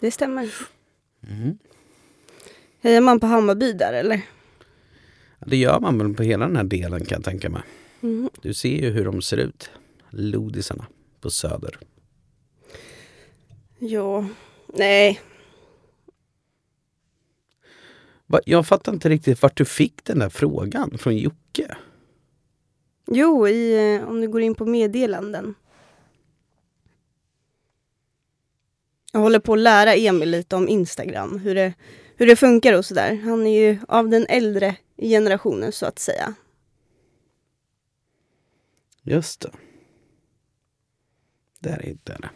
det stämmer. Mm. Hejar man på Hammarby där eller? Det gör man väl på hela den här delen kan jag tänka mig. Mm. Du ser ju hur de ser ut. Lodisarna på Söder. Ja. Nej. Va- Jag fattar inte riktigt vart du fick den där frågan från Jocke. Jo, i, eh, om du går in på meddelanden. Jag håller på att lära Emil lite om Instagram, hur det, hur det funkar och sådär. Han är ju av den äldre generationen så att säga. Just det. Där hittade jag det.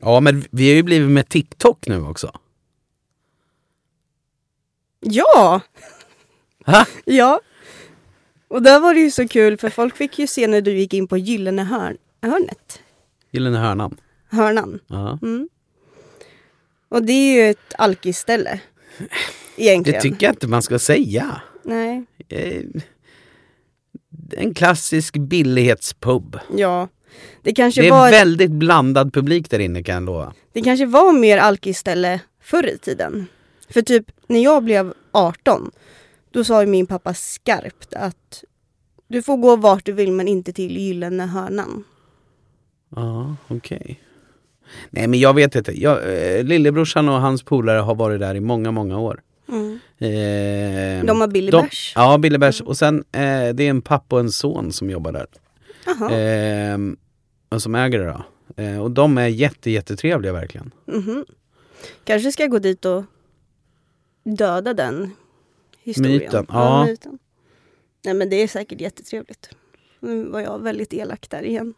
Ja, men vi har ju blivit med TikTok nu också. Ja! Ha? Ja. Och där var det ju så kul för folk fick ju se när du gick in på Gyllene hörn, hörnet. Gyllene hörnan. Hörnan. Ja. Mm. Och det är ju ett alkisställe. Det Egentligen. tycker jag inte man ska säga. Nej. Eh, En klassisk billighetspub. Ja. Det kanske Det var är väldigt blandad publik där inne kan jag lova. Det kanske var mer alkisställe förr i tiden. För typ när jag blev 18, då sa ju min pappa skarpt att du får gå vart du vill men inte till Gyllene hörnan. Ja, okej. Nej men jag vet inte. Jag, eh, lillebrorsan och hans polare har varit där i många, många år. Eh, De har Mm. Billy Mm. de- Bash. Ja, Billy Bash. Och sen eh, det är en pappa och en son som jobbar där. Ehm, Jaha. Eh, och som äger det då. Eh, och de är jätte, jättetrevliga verkligen. mhm. Kanske ska jag gå dit och döda den historien. Myten, ja. myten. Nej men det är säkert jättetrevligt. Nu var jag väldigt elak där igen.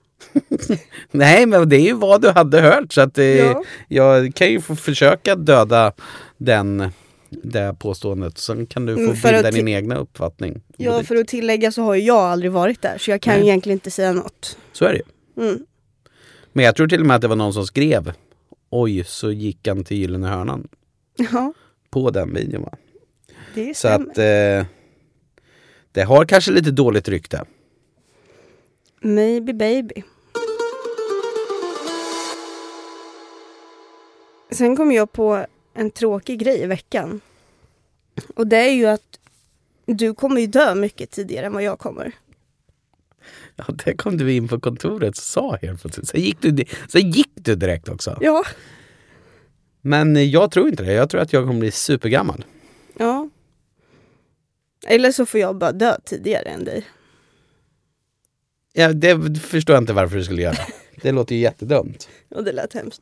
Nej, men det är ju vad du hade hört så att det, Ja. jag kan ju få försöka döda den, det påståendet. Sen kan du få Mm, för bilda att- din egna uppfattning. Ja, för att tillägga så har ju jag aldrig varit där så jag kan Nej. ju egentligen inte säga något. Så är det ju. Mm. Men jag tror till och med att det var någon som skrev Oj, så gick han till Gyllene Hörnan Ja, på den videon va? det Så stämmer. att eh, det har kanske lite dåligt rykte. Maybe baby. Sen kom jag på en tråkig grej i veckan. Och det är ju att du kommer ju dö mycket tidigare än vad jag kommer. Ja, där kom du in på kontoret och sa helt plötsligt. Sen gick du, di- sen gick du direkt också. Ja. Men eh, jag tror inte det. Jag tror att jag kommer bli supergammal. ja. Eller så får jag bara dö tidigare än dig. Ja, det förstår jag inte varför du skulle göra. Det låter ju jättedumt. Och det lät hemskt.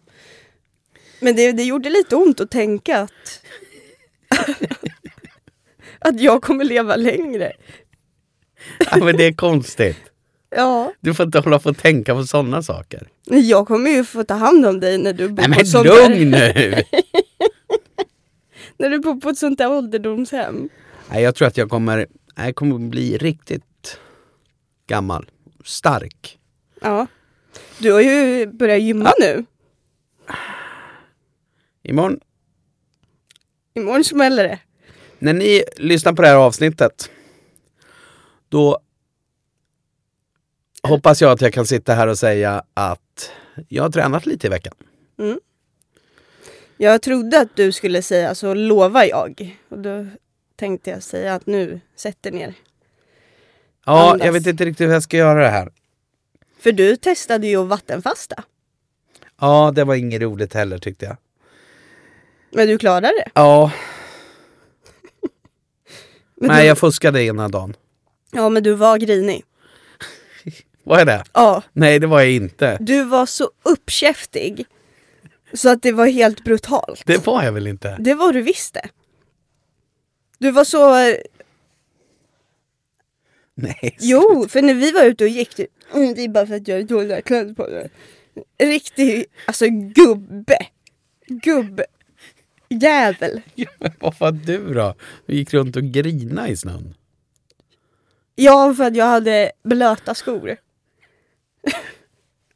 Men det, det gjorde lite ont att tänka att, att jag kommer leva längre. Ja, men det är konstigt. Ja. Du får inte hålla på och tänka på sådana saker. Jag kommer ju få ta hand om dig när du bor, Nej på, men ett sånt lugn där, nu! när du bor på ett sånt där ålderdomshem. Nej, jag tror att jag kommer, jag kommer bli riktigt gammal. Stark. Ja. Du har ju börjat gymma nu. Imorgon, Imorgon smäller det. när ni lyssnar på det här avsnittet, då hoppas jag att jag kan sitta här och säga att jag har tränat lite i veckan. Jag trodde att du skulle säga så lovar jag. Och då tänkte jag säga att nu sätter ner. Ja, Andas. jag vet inte riktigt hur jag ska göra det här. För du testade ju att vattenfasta. Ja, det var inget roligt heller tyckte jag. Men du klarade det. Ja, Men nej du, jag fuskade ena dagen. Ja men du var grinig. Vad är det? Ja. Nej, det var jag inte. Du var så uppkäftig. Så att det var helt brutalt. Det var jag väl inte? Det var du visst det. Du var så... eh, Nej. Jo, för när vi var ute och gick, du, "Mm, det är bara för att jag är dåliga kläder på mig. Riktig, alltså gubbe. Gubb. Jävel. Men Vad fan du då? Du gick runt och grina i snön. Ja, för att jag hade blöta skor.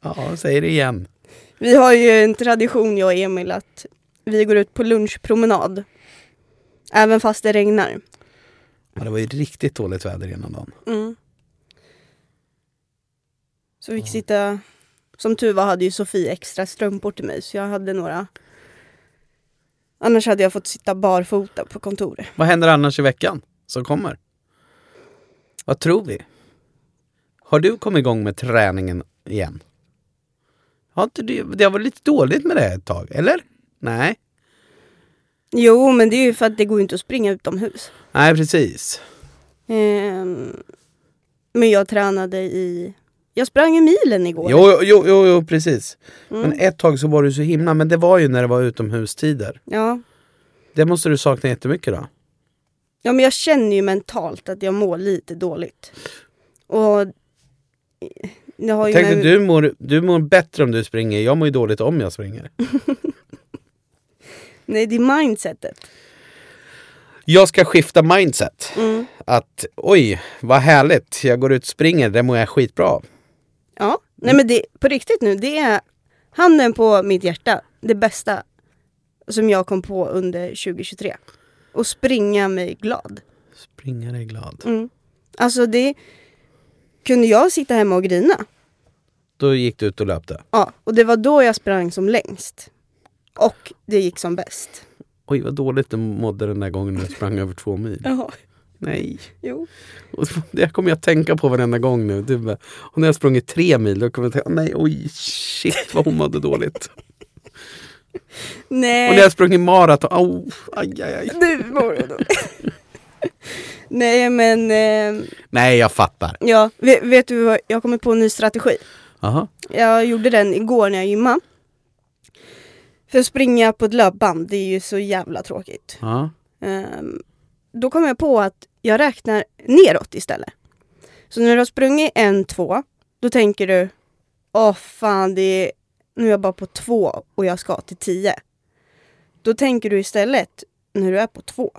Ja, säg det igen. Vi har ju en tradition jag och Emil att vi går ut på lunchpromenad. Även fast det regnar. Ja, det var ju riktigt dåligt väder ena dagen. Mm. Så vi fick sitta... Som tur var hade ju Sofie extra strumpor till mig så jag hade några. Annars hade jag fått sitta barfota på kontoret. Vad händer annars i veckan som kommer? Vad tror vi? Har du kommit igång med träningen igen? Har inte du, det har varit lite dåligt med det här ett tag, eller? Nej, Jo, men det är ju för att det går ju inte att springa utomhus. nej precis. Ehm, men jag tränade i... Jag sprang i milen igår. Jo, jo, jo, jo precis. Mm. Men ett tag så var du så himla, men det var ju när det var utomhustider. Ja. Det måste du sakna jättemycket då. ja, men jag känner ju mentalt att jag mår lite dåligt. Och... Jag har ju Tänk dig, med- du mår, du mår bättre om du springer. Jag mår ju dåligt om jag springer. Nej, det är mindsetet. Jag ska skifta mindset. Mm. Att oj, vad härligt. Jag går ut och springer. Det mår jag skitbra av. Ja, nej men det, på riktigt nu, det är handen på mitt hjärta, det bästa som jag kom på under 2023. Och springa mig glad. Springa dig glad. Mm. Alltså det kunde jag sitta hemma och grina. Då gick du ut och löpte. Ja, och det var då jag sprang som längst. Och det gick som bäst. Oj, vad dåligt du mådde den där gången när du sprang över två mil. Jaha, Nej. jo. Och Det kommer jag tänka på varenda gång nu. Du bara, och när jag sprungit tre mil, då kommer jag tänka, nej oj, shit vad hon mådde dåligt. Och Nej, när jag sprungit maraton, oh, aj, aj, aj. nu mår jag dåligt. Nej men, eh, Nej, jag fattar. ja, vet, vet du vad, jag har kommit på en ny strategi. Aha. Jag gjorde den igår när jag gymmade. För att springa på ett löpband, det är ju så jävla tråkigt. Ja. Ehm, då kom jag på att jag räknar neråt istället. Så när du har sprungit en, två, då tänker du Åh fan, det är, nu är jag bara på två och jag ska till tio. Då tänker du istället när du är på två.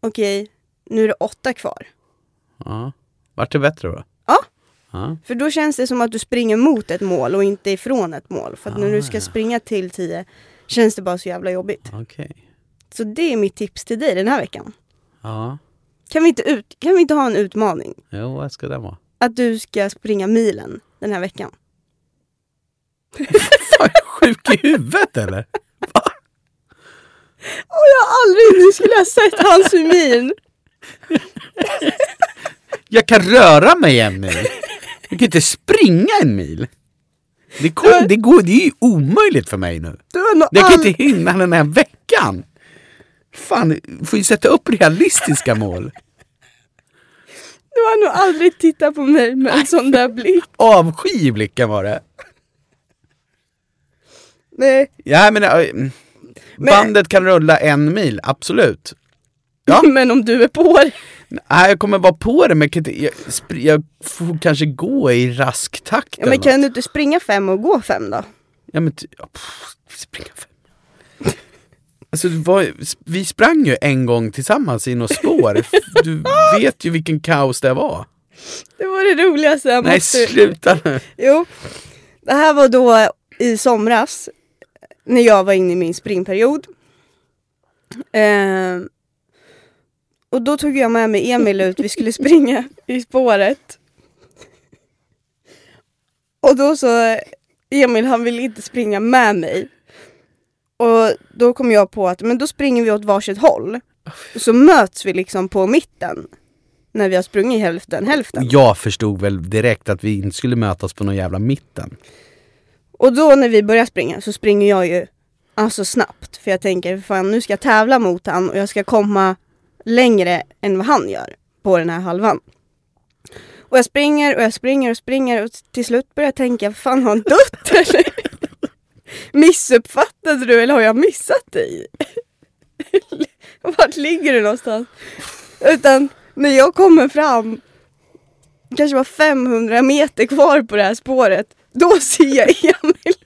Okej, nu är det åtta kvar. ja. Vart det bättre då? Ja. Ja. För då känns det som att du springer mot ett mål och inte ifrån ett mål. För att när du Ah, ska ja. springa till tio känns det bara så jävla jobbigt. Okej. Så det är mitt tips till dig den här veckan. Ja. Kan vi inte, ut, kan vi inte ha en utmaning? Jo, vad ska det vara? att du ska springa milen den här veckan. Fan, är jag sjuk i huvudet eller? Och jag har aldrig nu skulle ha sett hans min. Jag kan röra mig en mil. Jag kan inte springa en mil. Det, går, det, går, det är ju omöjligt för mig nu. Du har nog Jag kan aldrig... inte hinna den här veckan. Fan, får ju sätta upp realistiska mål. Du har nog aldrig tittat på mig med en sån där blick. Avsky i blicken var det. Nej. Ja, men, äh, mm. bandet kan rulla en mil, absolut. Ja. Men om du är på det. Nej, jag kommer vara på det, men jag, kan inte- jag, spr- jag får kanske gå i rask takt. Ja, men eller kan något. du inte springa fem och gå fem då? ja, men ty- ja, pff, springa fem. Alltså, det var, vi sprang ju en gång tillsammans i något spår. Du vet ju vilken kaos det var. Det var det roligaste. Jag Nej, måste- sluta nu. Jo. Det här var då i somras. När jag var inne i min springperiod. Ehm, och då tog jag med mig Emil ut. Vi skulle springa i spåret. Och då så, Emil han ville inte springa med mig. Och då kom jag på att men då springer vi åt varsitt håll. Så möts vi liksom på mitten. När vi har sprungit hälften hälften. Jag förstod väl direkt att vi inte skulle mötas på någon jävla mitten. Och då när vi börjar springa så springer jag ju alltså snabbt för jag tänker fan nu ska jag tävla mot han och jag ska komma längre än vad han gör på den här halvan. Och jag springer och jag springer och springer och till slut börjar jag tänka fan har han dött eller? Missuppfattade du eller har jag missat dig? Vart ligger du någonstans? Utan när jag kommer fram kanske var 500 meter kvar på det här spåret. Då ser jag Emil.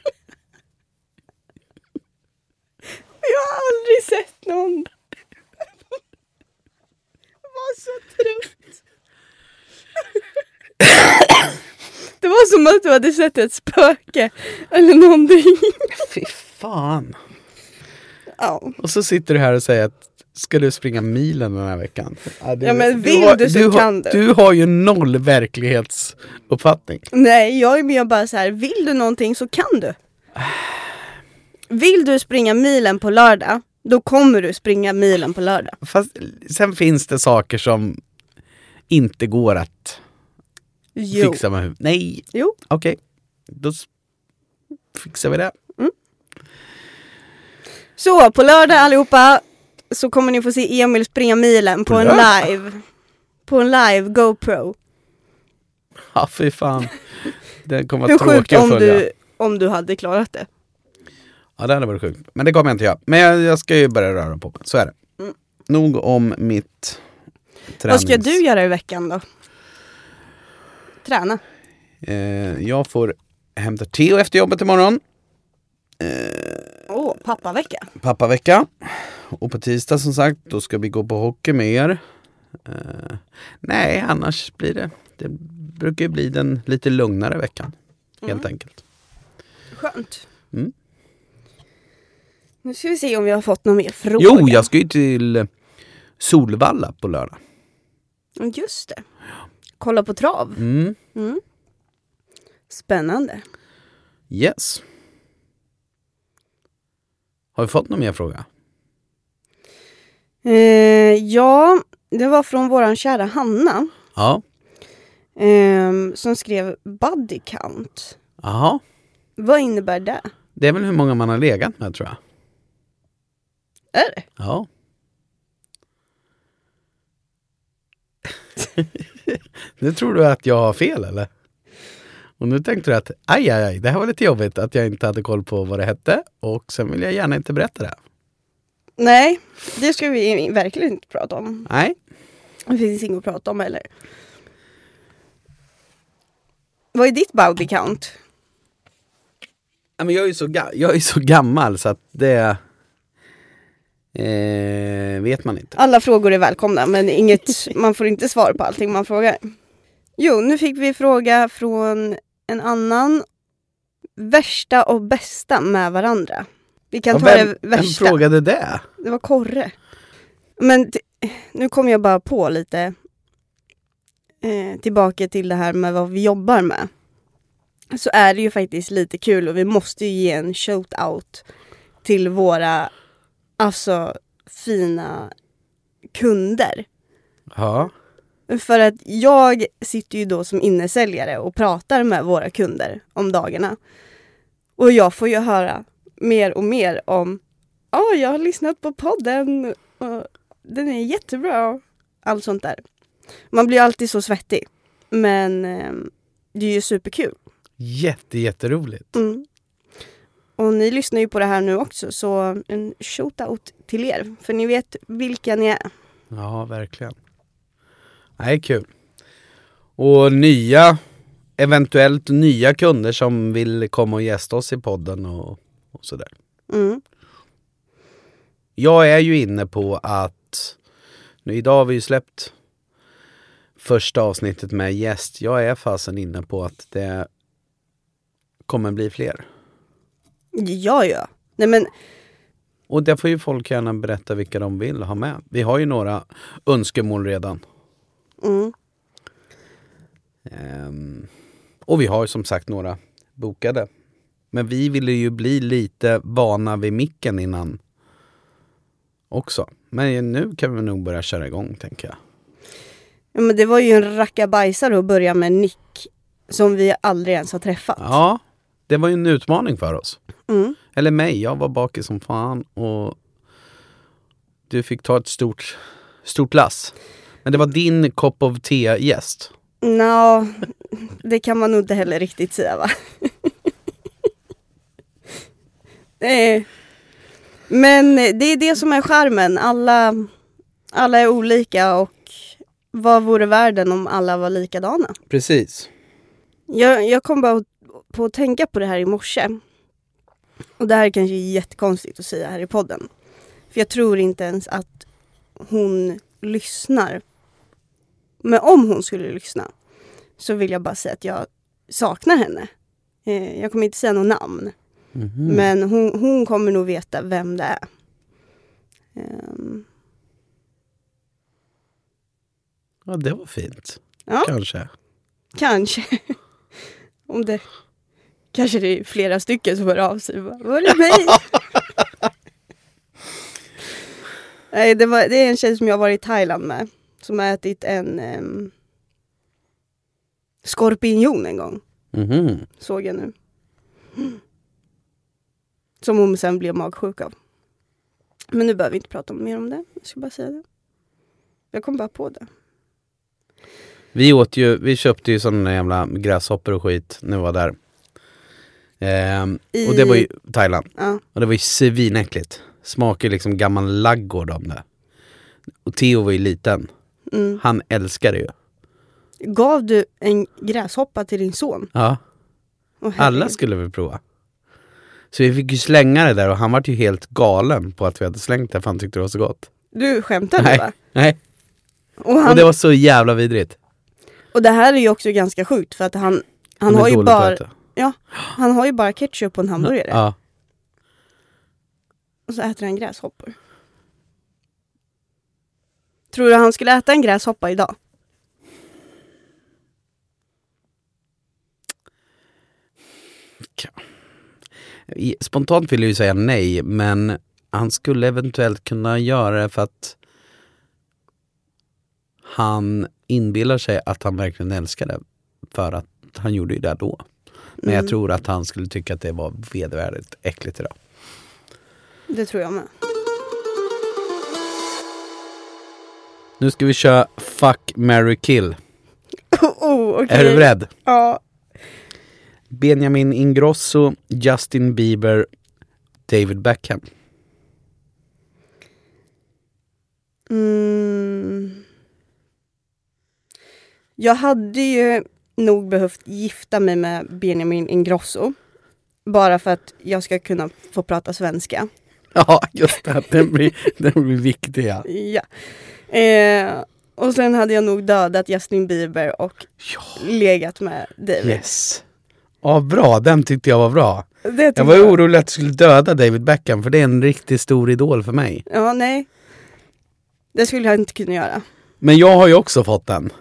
Jag har aldrig sett någon. Det var så trött. Det var som att du hade sett ett spöke eller någonting. Fy fan. Ja. Och så sitter du här och säger att ska du springa milen den här veckan? du, Ja, men vill du så har, kan du. Du har ju noll verklighetsuppfattning. Nej, jag är mer bara så här, vill du någonting så kan du. Vill du springa milen på lördag, då kommer du springa milen på lördag. Fast sen finns det saker som inte går att Jo. fixa med huvudet. Nej, Jo. okej. Då s- fixar vi det. Så på lördag allihopa så kommer ni få se Emil springa milen på, På en lördag? live. På en live GoPro. Ja, fy fan. Det kommer Hur vara sjukt tråkigt att om följa. du, om du hade klarat det. Ja, det hade varit sjukt. Men det kommer jag inte göra. Men jag, jag ska ju börja röra på mig. Så är det. Mm. Nog om mitt Vad ska tränings- du göra i veckan då? Träna. Eh, jag får hämta Theo efter jobbet imorgon. Åh, pappavecka. Pappavecka. Och på tisdag som sagt, då ska vi gå på hockey med er. Eh, nej, annars blir det. Det brukar ju bli den lite lugnare veckan. Helt Mm. enkelt. Skönt. Mm. Nu ska vi se om vi har fått någon mer fråga. Jo, jag ska ju till eh, Solvalla på lördag. Just det. Kolla på trav. Mm. Mm. Spännande. Yes. Har vi fått någon mer fråga? Eh, ja, det var från våran kära Hanna. Ja. Ehm, som skrev body count. Jaha. Vad innebär det? Det är väl hur många man har legat med tror jag. Är det? Ja. nu tror du att jag har fel eller? Och nu tänkte du att aj, aj, aj, det här var lite jobbigt att jag inte hade koll på vad det hette och sen vill jag gärna inte berätta det. Nej, det ska vi verkligen inte prata om. Nej, Det finns inget att prata om heller. Vad är ditt body count? Ja, men jag är ju så, ga- jag är ju så gammal så att det eh, vet man inte. Alla frågor är välkomna men inget, man får inte svar på allting man frågar. Jo, nu fick vi fråga från en annan. Värsta och bästa med varandra. Vi kan Ja, ta vem, det vem värsta. frågade det? Det var Korre. Men t- nu kom jag bara på lite eh, tillbaka till det här med vad vi jobbar med. Så är det ju faktiskt lite kul och vi måste ju ge en shout-out till våra alltså fina kunder. Ja. För att jag sitter ju då som innesäljare och pratar med våra kunder om dagarna. Och jag får ju höra mer och mer om Ja, jag har lyssnat på podden och den är jättebra. Allt sånt där. Man blir ju alltid så svettig. Men eh, det är ju superkul. Jätte, jätteroligt. Mm. Och ni lyssnar ju på det här nu också så en shoutout till er. För ni vet vilka ni är. Ja, verkligen. Nej, kul. Och nya, eventuellt nya kunder som vill komma och gästa oss i podden och, och sådär. Mm. Jag är ju inne på att, nu idag har vi ju släppt första avsnittet med gäst. Jag är fasen inne på att det kommer bli fler. Ja, ja. Nej men Och där får ju folk gärna berätta vilka de vill ha med. Vi har ju några önskemål redan. mm. Ehm, och vi har ju som sagt några bokade. Men vi ville ju bli lite vana vid micken innan också. Men nu kan vi nog börja köra igång tänker jag. Ja, men det var ju en rackabajsare att börja med Nick som vi aldrig ens har träffat. Ja, det var ju en utmaning för oss. Mm. Eller mig, jag var bakis som fan och du fick ta ett stort, stort lass. Men det var din kopp of te-gäst. Nå, det kan man nog inte heller riktigt säga va? Eh, Men det är det som är skärmen. Alla, alla är olika och vad vore världen om alla var likadana? Precis. Jag, jag kom bara på att tänka på det här i morse. Och det här kanske är jättekonstigt att säga här i podden. För jag tror inte ens att hon lyssnar. Men om hon skulle lyssna så vill jag bara säga att jag saknar henne. Eh, Jag kommer inte säga något namn. Mhm. Mm. Men hon, hon kommer nog veta vem det är. Ehm, Ja, det var fint. Ja. Kanske. Kanske. Om det... Kanske det är flera stycken som hör av sig. Bara, Var det mig? Nej, det, var, det är en tjej som jag var i Thailand med. Som har ätit en em, skorpion en gång. Mhm. Såg jag nu. Som hon sen blev magsjuk av. Men nu behöver vi inte prata mer om det. Jag ska bara säga det. Jag kom bara på det. Vi åt ju, vi köpte ju sådana jävla gräshoppor och skit när vi var där. Ehm, I- Och det var ju Thailand. Ja. Och det var ju svinäckligt. Smakar ju liksom gammal laggård om det. Och Theo var ju liten. Mm. Han älskar det ju. Gav du en gräshoppa till din son? Ja. Åh, Alla herregud. skulle vi prova. Så vi fick ju slänga det där och han vart ju helt galen på att vi hade slängt det för han tyckte det var så gott. Du skämtar nu va? Nej. Och, han, Och det var så jävla vidrigt. här är ju också ganska sjukt för att han, han, Det är har, ju dåligt att bara, äta. ja, han har ju bara ketchup på en hamburgare Ja. och så äter han gräshoppor. Tror du han skulle äta en gräshoppa idag? I- Spontant vill jag ju säga nej, men han skulle eventuellt kunna göra det för att han inbillar sig att han verkligen älskar det. För att han gjorde ju det då. Men Mm. jag tror att han skulle tycka att det var vedervärdigt äckligt idag. Det tror jag med. Nu ska vi köra Fuck, Mary kill. Oh, oh, okej. Är du beredd? Ja. Benjamin Ingrosso, Justin Bieber, David Beckham. Mm. Jag hade ju nog behövt gifta mig med Benjamin Ingrosso. Bara för att jag ska kunna få prata svenska. Ja, just det. Den blir, den blir viktig. Ja. Ja. Eh, och sen hade jag nog dödat Justin Bieber och legat med David. Yes. Ja, bra. Den tyckte jag var bra. Det tycker Jag var ju orolig att du skulle döda David Beckham för det är en riktigt stor idol för mig. Ja, nej. Det skulle jag inte kunna göra. Men jag har ju också fått den.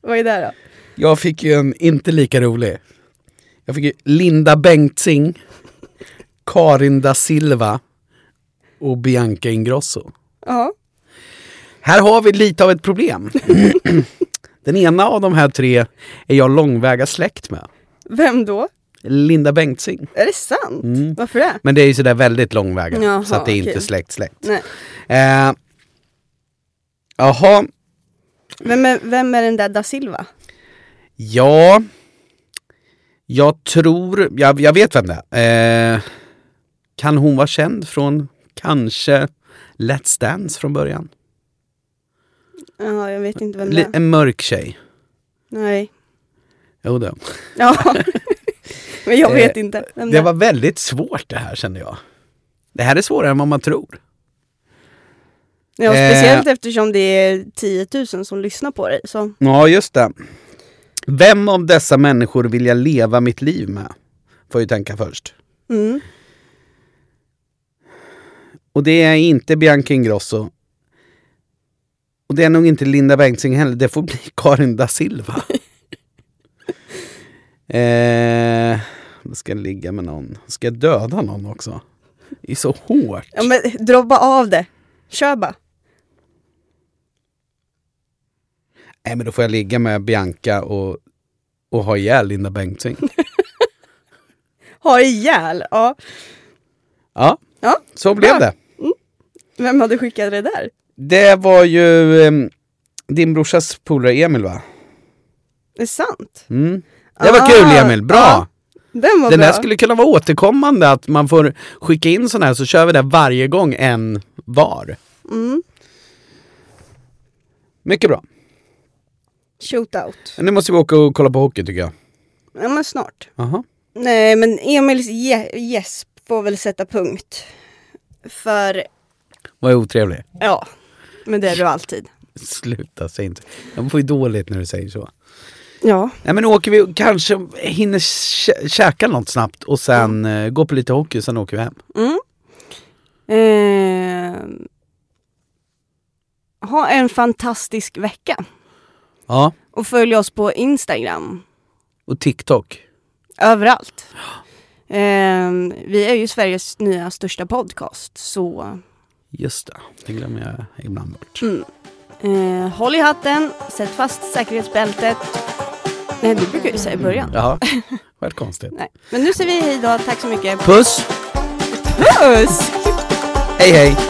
Vad är det då? Jag fick ju en inte lika rolig. Jag fick ju Linda Bengtzing, Karin da Silva och Bianca Ingrosso. Ja. Här har vi lite av ett problem. Den ena av de här tre är jag långväga släkt med. Vem då? Linda Bengtzing. Är det sant? Mm. Varför det? Men det är ju sådär väldigt långväga Jaha, så att det är inte okej. släkt släkt. Nej. Eh, Jaha, Vem är, vem är den där da Silva? ja. Jag tror, jag, jag vet vem det är. Eh, kan hon vara känd från kanske Let's Dance från början? Ja, jag vet inte vem det Li- är. en mörk tjej. Nej. Jo då. Ja. Men jag Eh, vet inte vem det Det är. var väldigt svårt det här kände jag. Det här är svårare än vad man tror. Ja, eh, speciellt eftersom det är 10 000 som lyssnar på dig. Så. Ja, just det. Vem av dessa människor vill jag leva mitt liv med? Får jag ju tänka först. Mm. Och det är inte Bianca Ingrosso. Och det är nog inte Linda Bengtzing heller, det får bli Karin da Silva. eh, då ska jag ligga med någon. Ska jag döda någon också? Det är så hårt. Ja, men dra bara av det. Kör bara. Nej men då får jag ligga med Bianca och, och ha ihjäl Linda Bengtzing. Ha ihjäl. Ja. Ja, ja. så Bra. blev det. Vem hade skickat det där? Det var ju ehm, din brorsas polare Emil va? Det är sant. Mm. Det var Ah, kul Emil, bra! ja. Den var Den bra. där skulle kunna vara återkommande, att man får skicka in sån här så kör vi det varje gång en var. Mm. Mycket bra. Shootout. Nu måste vi åka och kolla på hockey tycker jag. Ja, men snart. Aha. Nej, men Emils ge- gäsp får väl sätta punkt. För, Vad otrevlig. ja, men det är du alltid. Sluta, säg inte Jag får ju dåligt när du säger så. Ja. Nej men nu åker vi och kanske hinner kä- käka något snabbt och sen eh, gå på lite hockey, sen åker vi hem. Mm. Ehm. ha en fantastisk vecka. Ja, Och följ oss på Instagram. och TikTok. Överallt. Ehm, vi är ju Sveriges nya största podcast, så Just det, det glömmer jag ibland bort. eh, håll i hatten, sätt fast säkerhetsbältet. Nej, det brukar jag ju säga i början. Jaha, vad konstigt. Nej. Men nu säger vi hej då, tack så mycket. Puss, Puss! hej hej!